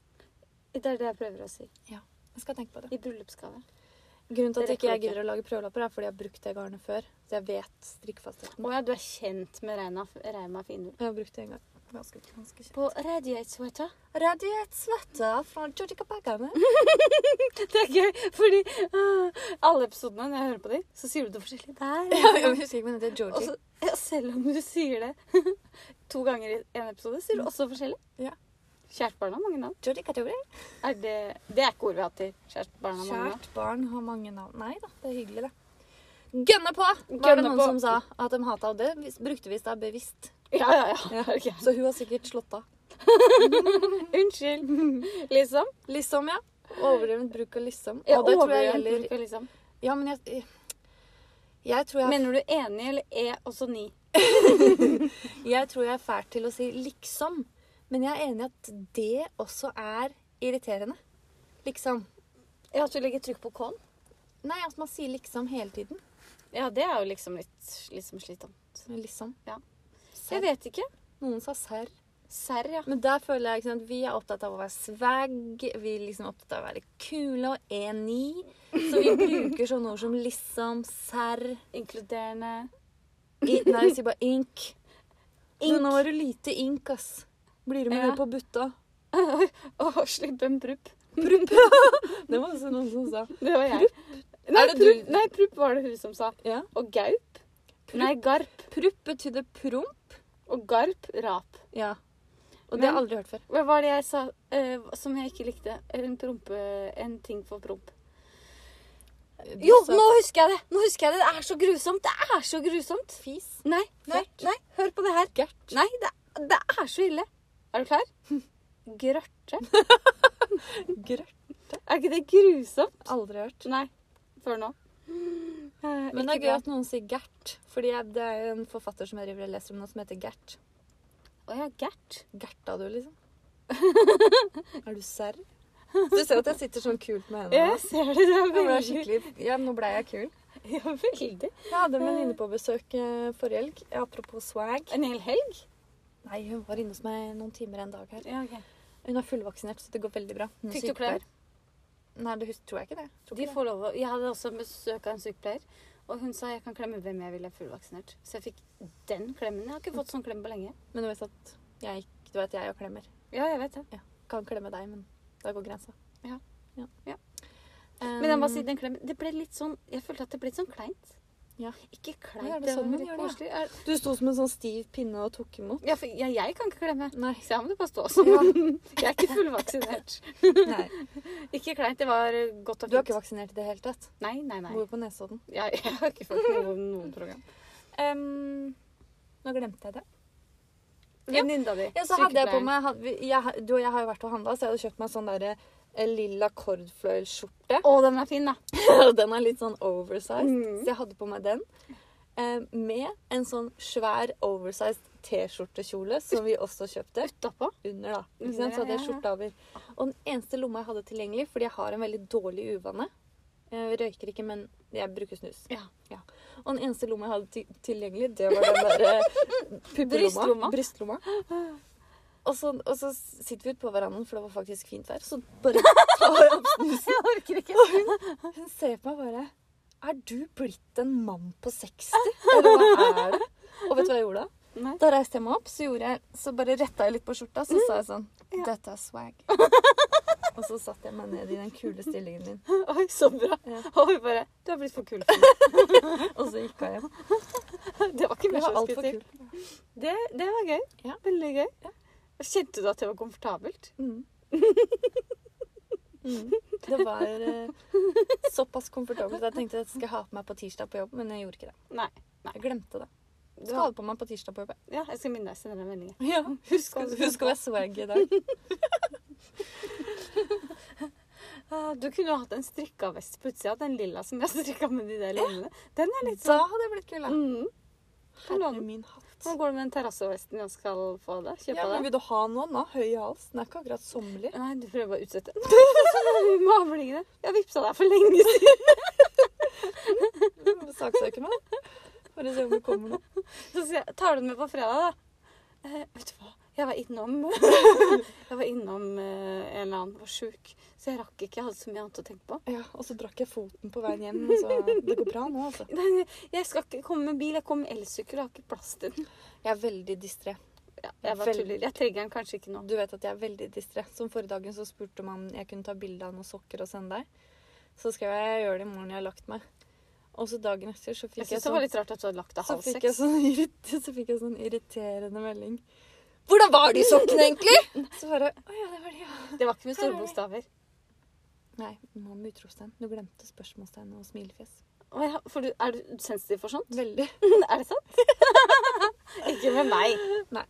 S1: Det er det jeg prøver å si.
S2: Jeg skal tenke på det.
S1: I bryllupsgave.
S2: Grunnen til at
S1: Det
S2: ikke
S1: rekker
S2: jeg
S1: ikke.
S2: gidder å lage prøvelapper, er fordi jeg har brukt det garnet før. Så jeg vet strikkfastheten.
S1: Å ja, du er kjent med Reina, Reima Finull.
S2: Jeg har brukt det en gang. Ganske, ganske kjent.
S1: På Radiate Sweater.
S2: Radiert svette fra Georgica Bergane.
S1: Det er gøy, fordi øh, alle episodene når jeg hører på dem, så sier du det forskjellig. Der.
S2: Jeg husker ikke, men det er
S1: Og
S2: Georgie.
S1: så, Altså, ja, selv om du sier det to ganger i en episode, sier du også forskjellig.
S2: Ja.
S1: Kjært barn har mange navn.
S2: Georgie Katori.
S1: Er det, det er ikke ord vi har hatt til. Kjært barn har mange navn.
S2: Kjært barn har mange navn. Nei da, det er hyggelig, det. Gønne på! Var
S1: Gønne
S2: det noen
S1: på.
S2: som sa at de hata, og det vis- brukte vi i stad bevisst.
S1: Ja, ja, ja. Er det ikke?
S2: Så hun har sikkert slått av.
S1: Unnskyld. Liksom.
S2: Liksom, ja. Overdrevent bruk av liksom.
S1: Jeg
S2: og det tror
S1: overdrev
S2: jeg gjelder
S1: bruker liksom.
S2: Ja, men jeg eh, jeg tror jeg,
S1: Mener du enig eller er også ni?
S2: jeg tror jeg er fæl til å si liksom. Men jeg er enig i at det også er irriterende. Liksom.
S1: Ja, at du legger trykk på k-en.
S2: Nei, at man sier liksom hele tiden.
S1: Ja, det er jo liksom litt liksom slitsomt.
S2: Liksom.
S1: Ja.
S2: Serr.
S1: Jeg vet ikke.
S2: Noen sa serr.
S1: Serr, ja.
S2: Men der føler jeg ikke sant, vi er opptatt av å være swag, vi er liksom opptatt av å være kule og E9. Så vi bruker sånne ord som liksom, serr
S1: Inkluderende.
S2: i- Nei, vi sier bare ink.
S1: Ink.
S2: Men nå var du lite ink, ass. Blir du med
S1: Ja.
S2: ned på butta?
S1: Å, slipp en prupp.
S2: Det var også noen som sa.
S1: Det var jeg. Nei,
S2: det
S1: prupp,
S2: du-
S1: nei, prupp var det hun som sa.
S2: Ja.
S1: Og gaup. Nei, garp.
S2: Prupp betydde promp.
S1: Og garp rap.
S2: Ja. Og det har jeg
S1: Men-
S2: aldri hørt før.
S1: Hva var det jeg sa eh, som jeg ikke likte? En prompe En ting for promp.
S2: Du
S1: Jo,
S2: sa
S1: nå husker jeg det! Nå husker jeg Det Det er så grusomt! Det er så grusomt!
S2: Fis.
S1: Nei, nei,
S2: Flert.
S1: nei, hør på det her.
S2: Gert.
S1: Nei, det, det er så ille. Hm. Er du klar? Grørte.
S2: Grørt.
S1: Er ikke det grusomt?
S2: Aldri hørt.
S1: Nei. Før nå. Eh,
S2: Men det er
S1: ikke
S2: gøy
S1: bra.
S2: at noen sier Gert. Fordi jeg, det er jo en forfatter som jeg driver og leser om nå, som heter Gert.
S1: Å ja, gært.
S2: Gerta du, liksom? er du serr? Du ser at jeg sitter sånn kult med
S1: Ja,
S2: hendene.
S1: jeg ser det. Det er
S2: Jeg ble
S1: veldig
S2: skikkelig, ja, nå ble jeg kul.
S1: Ja, veldig.
S2: Jeg hadde en venninne på besøk eh, forrige helg. Apropos swag.
S1: En hel helg?
S2: Nei, hun var inne hos meg noen timer en dag her.
S1: Ja, ok.
S2: Hun er fullvaksinert, så det går veldig bra. Hun er
S1: Fikk du
S2: sykepleier.
S1: klær?
S2: Nei, det hus- tror jeg ikke det. Tror
S1: De
S2: ikke det.
S1: får lov å Jeg hadde også besøk av en sykepleier, og hun sa jeg kan klemme hvem jeg vil, jeg er fullvaksinert. Så jeg fikk den klemmen. Jeg har ikke fått sånn klem på lenge.
S2: Men du vet at jeg, ikke- du vet, jeg og klemmer.
S1: Ja, jeg vet det.
S2: Kan klemme deg, men da går grensa.
S1: Ja.
S2: ja.
S1: Ja.
S2: Um,
S1: Men jeg må si den klemmen Det ble litt sånn Jeg følte at det ble litt sånn kleint.
S2: Ja.
S1: Ikke
S2: Ja,
S1: kleint,
S2: er det
S1: det var
S2: sånn man
S1: veldig
S2: gjør det,
S1: koselig. Er-
S2: Du sto som en sånn stiv pinne og tok imot.
S1: Ja, for ja, jeg kan ikke klemme.
S2: Nei.
S1: Så jeg må bare stå sånn.
S2: Ja.
S1: Jeg er ikke fullvaksinert.
S2: Nei.
S1: Ikke kleint, det var godt og
S2: Du er ikke
S1: fint.
S2: vaksinert i det hele tatt?
S1: Nei, nei, nei.
S2: Bor på Nesodden.
S1: Jeg, jeg har ikke fått noe- noen program.
S2: Ehm, nå glemte jeg det. Ja.
S1: Venninna di.
S2: Ja, så hadde jeg på
S1: sykepleieren.
S2: meg han- vi- jeg, har- Du og jeg har jo vært og handla, så jeg hadde kjøpt meg sånn derre eh, lilla kordfløyelsskjorte.
S1: Å, den er fin, da.
S2: Og den er litt sånn oversized,
S1: Mm.
S2: så jeg hadde på meg den. eh, Med en sånn svær oversized T-skjortekjole som vi også kjøpte.
S1: Utapå.
S2: Under, da. Ikke
S1: Under,
S2: sant? Så hadde jeg
S1: ja, ja.
S2: skjorta over. Og den eneste lomma jeg hadde tilgjengelig, fordi jeg har en veldig dårlig uvane Jeg røyker ikke, men jeg bruker snus.
S1: Ja.
S2: Og den eneste lomma jeg hadde til- tilgjengelig, det var den derre puppelomma.
S1: Brystlomma.
S2: Brystlomma. Og så, og så sitter vi ute på verandaen, for det var faktisk fint vær. Så bare tar jeg opp snusen.
S1: Jeg orker ikke.
S2: Og hun, hun ser på meg bare Er du blitt en mann på 60? Eller hva er det? Og vet du hva jeg gjorde da?
S1: Nei.
S2: Da reiste jeg meg opp, så, gjorde jeg, så bare retta jeg litt på skjorta, så sa jeg sånn
S1: Ja.
S2: Dette er swag. Og så satte jeg meg ned i den kule stillingen min.
S1: Oi, så bra.
S2: Ja.
S1: Oi, bare Du har blitt for kul for meg.
S2: Og så gikk jeg hjem.
S1: Det var ikke
S2: Det
S1: mer
S2: var
S1: som
S2: altfor
S1: skulle til.
S2: kult.
S1: Det, det var gøy.
S2: Ja.
S1: Veldig gøy.
S2: Ja.
S1: Kjente du at det var komfortabelt?
S2: Mm. Mm. Det var eh, såpass komfortabelt at jeg tenkte at jeg skal ha på meg på tirsdag på jobb, men jeg gjorde ikke det.
S1: Nei.
S2: Jeg glemte det. Jeg
S1: Du
S2: Skal ha
S1: har-
S2: det på meg på tirsdag på jobb. jeg.
S1: Ja, jeg skal minne deg sende deg en melding.
S2: Ja.
S1: Husk,
S2: Husk å være swag i dag.
S1: Ah, Du kunne jo hatt en strikka vest på utsida. Den lilla som jeg strikka med de der lommene. Den er litt
S2: Da hadde jeg blitt kul. da.
S1: mm. Kan låne
S2: Herre
S1: den.
S2: min hatt.
S1: Hvordan går det med den terrassevesten jeg skal få av deg? Kjøpe
S2: Ja,
S1: av
S2: men
S1: deg?
S2: vil du ha noen da? Høy hals? Den er ikke akkurat sommerlig.
S1: Nei, du prøver bare å utsette. Mavlingene. Jeg vippsa deg for lenge siden.
S2: Saksøker meg. For å se om det kommer noe.
S1: Så sier jeg, tar du den med på fredag, da? Eh, vet du hva? Jeg var innom Jeg var innom eh, en eller annen. Var sjuk. Så jeg rakk ikke. Jeg hadde så mye annet å tenke på.
S2: Ja, og så drakk jeg foten på veien hjem, og så Det går bra nå, altså.
S1: Nei, nei, jeg skal ikke komme med bil. Jeg kom med elsykkel. Jeg har ikke plass til den.
S2: Jeg er veldig distré.
S1: Ja, jeg bare
S2: Veldig.
S1: tuller. Jeg trenger den kanskje ikke nå.
S2: Du vet at jeg er veldig distré. Som forrige dagen så spurte man om jeg kunne ta bilde av noen sokker og sende deg. Så skrev jeg jeg gjør det i morgen jeg har lagt meg. Og så dagen etter så
S1: Jeg
S2: fikk jeg,
S1: synes det var
S2: sånn,
S1: litt rart at du hadde lagt deg
S2: så
S1: halv
S2: fikk jeg
S1: seks.
S2: sånn, irrit- så fikk jeg sånn irriterende melding. Hvordan var de sokkene, egentlig? Så bare Å ja, det var de, ja.
S1: Det var ikke med store bokstaver.
S2: Nei, nå med utropstegn. Du glemte spørsmålstegn og smilefjes.
S1: Å ja, for du, er du sensitiv for sånt?
S2: Veldig.
S1: Er det sant? ikke med meg.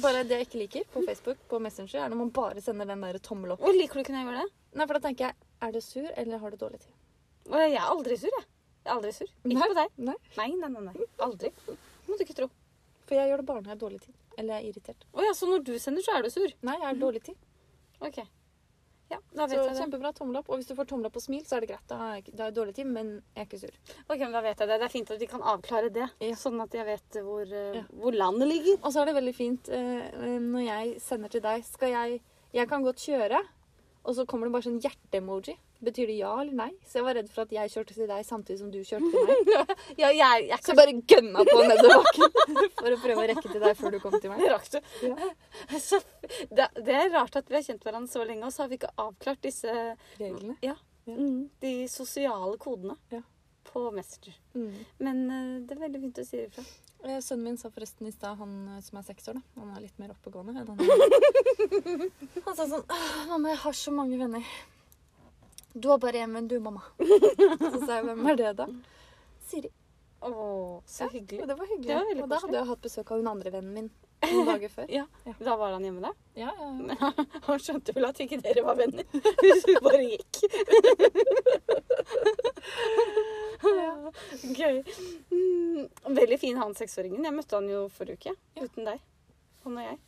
S2: Bare det jeg ikke liker på Facebook, på Messenger, er når man bare sender den der tommel opp.
S1: Å, liker du ikke når jeg gjør det?
S2: Nei, for da tenker jeg, er du sur, eller har du dårlig tid?
S1: Å, jeg er aldri sur, jeg. Jeg er aldri sur. Ikke
S2: Nei.
S1: på deg.
S2: Nei,
S1: Nei, nei, nei. nei. Aldri. Det må du ikke tro.
S2: for jeg gjør det bare når jeg har dårlig tid. Eller jeg er irritert.
S1: Å ja, så når du sender, så er du sur?
S2: Nei, Mhm. jeg har dårlig tid.
S1: OK. Ja, da vet
S2: Så
S1: jeg det.
S2: kjempebra. Tommel opp. Og hvis du får tommel opp og smil, så er det greit. Da er jeg, ikke- da er jeg dårlig tid, men jeg er ikke sur.
S1: Ok, men da vet jeg det. Det er fint at de kan avklare det,
S2: Ja.
S1: sånn at jeg vet hvor, eh,
S2: Ja.
S1: hvor landet ligger.
S2: Og så er det veldig fint eh, når jeg sender til deg Skal jeg Jeg kan godt kjøre. Og så kommer det bare sånn hjerte-emoji. Betyr det ja eller nei? Så jeg var redd for at jeg kjørte til deg samtidig som du kjørte til meg.
S1: Ja, jeg, jeg, jeg
S2: Så jeg bare gønna på nedover bakken for å prøve å rekke til deg før du kom til meg.
S1: rakk det. Så, det, det er rart at vi har kjent hverandre så lenge, og så har vi ikke avklart disse
S2: Reglene.
S1: ja,
S2: Ja.
S1: mm, de sosiale kodene
S2: Ja.
S1: på Messenger.
S2: Mm.
S1: Men eh, det er veldig fint å si ifra.
S2: Eh, Sønnen min sa forresten i stad, han eh, som er seks år, da. Han er litt mer oppegående enn han er. Han sa sånn «Åh, 'Mamma, jeg har så mange venner.' 'Du har bare én venn, du, mamma.' Så sa jeg 'Hvem er det, da?' Siri.
S1: Å, så
S2: Ja, Og
S1: hyggelig.
S2: det var hyggelig.
S1: Det var veldig
S2: og da
S1: koselig.
S2: hadde jeg hatt besøk av hun andre vennen min noen dager før.
S1: Ja.
S2: Ja.
S1: Da var han hjemme der.
S2: Ja, ja, ja.
S1: Men han, han skjønte vel at ikke dere var venner, hvis du bare gikk. Gøy. Mm, Veldig fin han seksåringen. Jeg møtte han jo forrige uke,
S2: Ja.
S1: uten deg. Han og jeg.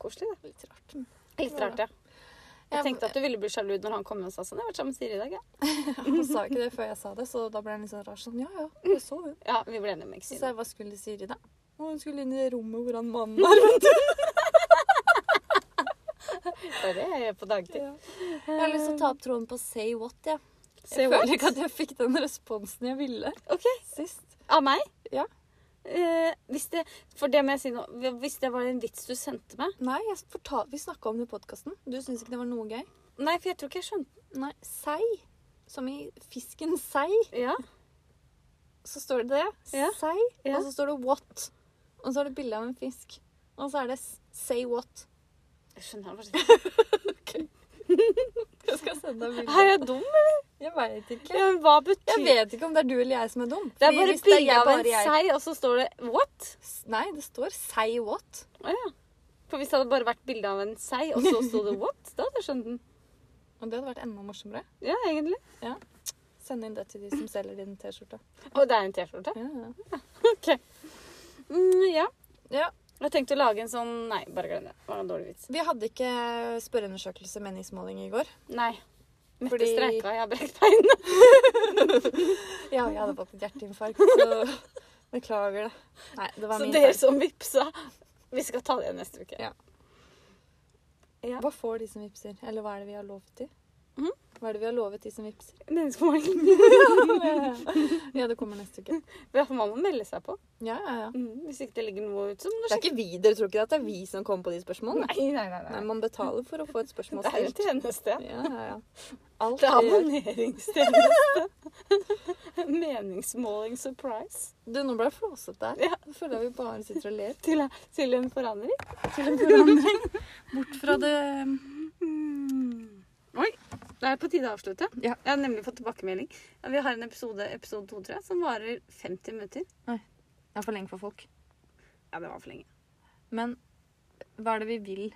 S1: Koselig, det.
S2: Litt rart. Jeg,
S1: Litt rart, ja. Jeg tenkte at du ville bli sjalu når han kom hjem og sa sånn. Jeg har vært sammen med Siri i dag, jeg.
S2: Han sa ikke det før jeg sa det, så da ble han litt sånn rar. Sånn, ja, ja, jeg så hun.
S1: Ja, vi ble enige om ikke
S2: Så
S1: si
S2: sa
S1: det.
S2: jeg, hva skulle Siri da? Og hun skulle inn i det rommet hvor han mannen er.
S1: Det er det jeg gjør på dagtid.
S2: Ja. Jeg har lyst til å ta opp tråden på Say What, jeg.
S1: Se
S2: Jeg
S1: hva.
S2: føler ikke at jeg fikk den responsen jeg ville
S1: Ok.
S2: sist.
S1: Av meg?
S2: Ja.
S1: Eh, hvis det, for det må jeg si nå. Hvis det var en vits du sendte meg
S2: Nei, jeg fortal, vi snakka om det i podkasten. Du syns ikke det var noe gøy?
S1: Nei, for jeg tror ikke jeg skjønte
S2: Nei, sei. Som i fisken sei,
S1: Ja.
S2: så står det det.
S1: Ja.
S2: Sei.
S1: Ja.
S2: Og så står det what. Og så er det bilde av en fisk. Og så er det s- say what.
S1: Jeg skjønner det.
S2: Jeg skal sende
S1: Er
S2: deg bilde.
S1: jeg dum, eller?
S2: Jeg veit ikke.
S1: Ja, men hva betyr
S2: Jeg vet ikke om det er du eller jeg som er dum.
S1: Det er
S2: Fordi
S1: bare
S2: hvis
S1: bilde
S2: jeg,
S1: av en
S2: bare jeg-
S1: sei, og så står det what?
S2: S- Nei, det står say what.
S1: Å ja. For hvis det hadde bare vært bilde av en sei, og så sto det what, da hadde jeg skjønt den.
S2: Og det hadde vært enda morsommere.
S1: Ja, egentlig.
S2: Send inn det til de som selger din T-skjorte.
S1: Og det er en T-skjorte.
S2: Ja, ja.
S1: Mm, ja.
S2: ja,
S1: Jeg tenkte å lage en sånn Nei, bare glem det. Det var en dårlig vits.
S2: Vi hadde ikke spørreundersøkelse meningsmåling i går.
S1: Nei. Mette
S2: Fordi-
S1: streika, jeg har brekt beinet.
S2: Ja, jeg hadde fått et hjerteinfarkt, så beklager det. Nei, det var
S1: Så
S2: min
S1: dere
S2: feil.
S1: som vippsa, vi skal ta det igjen neste uke.
S2: Ja. Hva får de som vippser? Eller hva er det vi har lovet de?
S1: Mhm.
S2: Hva er det vi har lovet de som vippser?
S1: Meningsmåling.
S2: ja, det kommer neste uke.
S1: Ja, for man må melde seg på.
S2: Ja, ja, ja.
S1: Mm, hvis ikke det ligger noe ut som
S2: Det er ikke vi, dere tror ikke at det er vi som kommer på de spørsmålene?
S1: Nei, nei, nei.
S2: Nei,
S1: nei.
S2: man betaler for å få et spørsmål
S1: Det er jo
S2: stilt.
S1: tjeneste.
S2: Ja, ja, ja. Alt
S1: Det er
S2: vi gjør.
S1: abonneringstjeneste. Meningsmåling surprise.
S2: Du, nå ble jeg flåset der.
S1: Ja.
S2: Nå føler jeg vi bare sitter og ler.
S1: Til, til en forandring.
S2: Bort fra det um,
S1: Hmm. Oi, det er på tide å avslutte.
S2: Ja.
S1: Jeg har nemlig fått tilbakemelding. Ja, Vi har en episode, episode 2, tror jeg, som varer 50 minutter.
S2: Det er for lenge for folk.
S1: Ja, det var for lenge.
S2: Men hva er det vi vil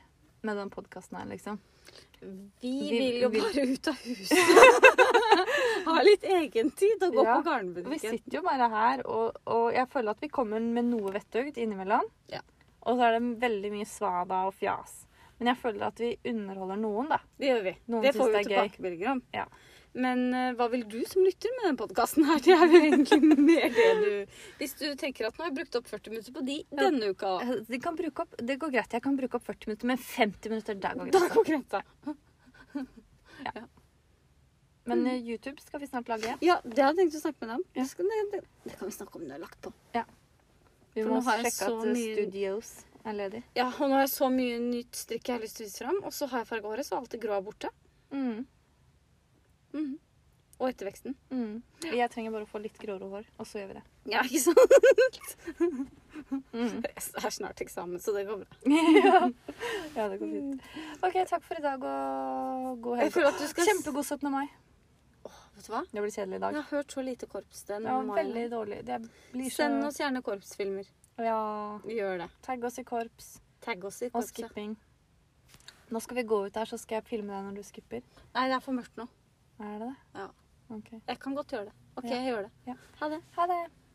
S2: med den podkasten her, liksom?
S1: Vi
S2: vil jo
S1: bare ut av huset. ha litt egentid og gå
S2: Ja.
S1: på
S2: Vi
S1: garnbutikken.
S2: sitter jo bare her, og, og jeg føler at vi kommer med noe vettugt innimellom.
S1: Ja.
S2: Og så er det veldig mye svada og fjas. Men jeg føler at vi underholder noen, da.
S1: Det gjør vi.
S2: Noen
S1: det
S2: syns
S1: får vi
S2: det er gøy.
S1: tilbakemeldinger om.
S2: Ja.
S1: Men eh, hva vil du som lytter med den podkasten her? Det er jo egentlig mer det du Hvis du tenker at nå har jeg brukt opp 40 minutter på de denne uka,
S2: De kan bruke opp, det går greit, jeg kan bruke opp 40 minutter, men 50 minutter, der går
S1: da
S2: greit.
S1: går grensa.
S2: Men eh, YouTube skal vi snart lage.
S1: Ja, det hadde jeg tenkt å snakke med deg om.
S2: Ja.
S1: Jeg skal- Det, det, det kan vi snakke om når det er lagt på.
S2: Vi
S1: For
S2: må
S1: nå har jeg
S2: sjekke
S1: så
S2: at eh,
S1: mye-
S2: Studios er ledig.
S1: Ja, og nå har jeg så mye nytt strikk jeg har lyst til å vise fram. Og så har jeg farga håret, så alt det grå er borte.
S2: Mm.
S1: Mhm. Og etterveksten.
S2: Mm. Jeg trenger bare å få litt gråere hår, og så gjør vi det.
S1: Ja, ikke sant?
S2: Mm.
S1: Det er snart eksamen, så det går bra.
S2: ja. ja, det går fint. OK, takk for i dag og god
S1: Mm. Jeg
S2: helg.
S1: føler at du skal
S2: Kjempegod 17. mai.
S1: Vet du hva?
S2: Det blir kjedelig i
S1: Jeg
S2: dag.
S1: har hørt så lite korps den
S2: Det var
S1: mai.
S2: veldig dårlig. Det blir så
S1: Send oss gjerne korpsfilmer.
S2: Ja.
S1: Gjør det.
S2: Tagg oss i korps
S1: Tagg oss i
S2: og
S1: korpset.
S2: skipping. Nå skal vi gå ut der, så skal jeg filme deg når du skipper.
S1: Nei, det er for mørkt nå.
S2: Er det det?
S1: Ja.
S2: OK.
S1: Jeg kan godt gjøre det. Ok,
S2: Ja.
S1: jeg gjør det.
S2: Ja.
S1: Ha det.
S2: Ha det.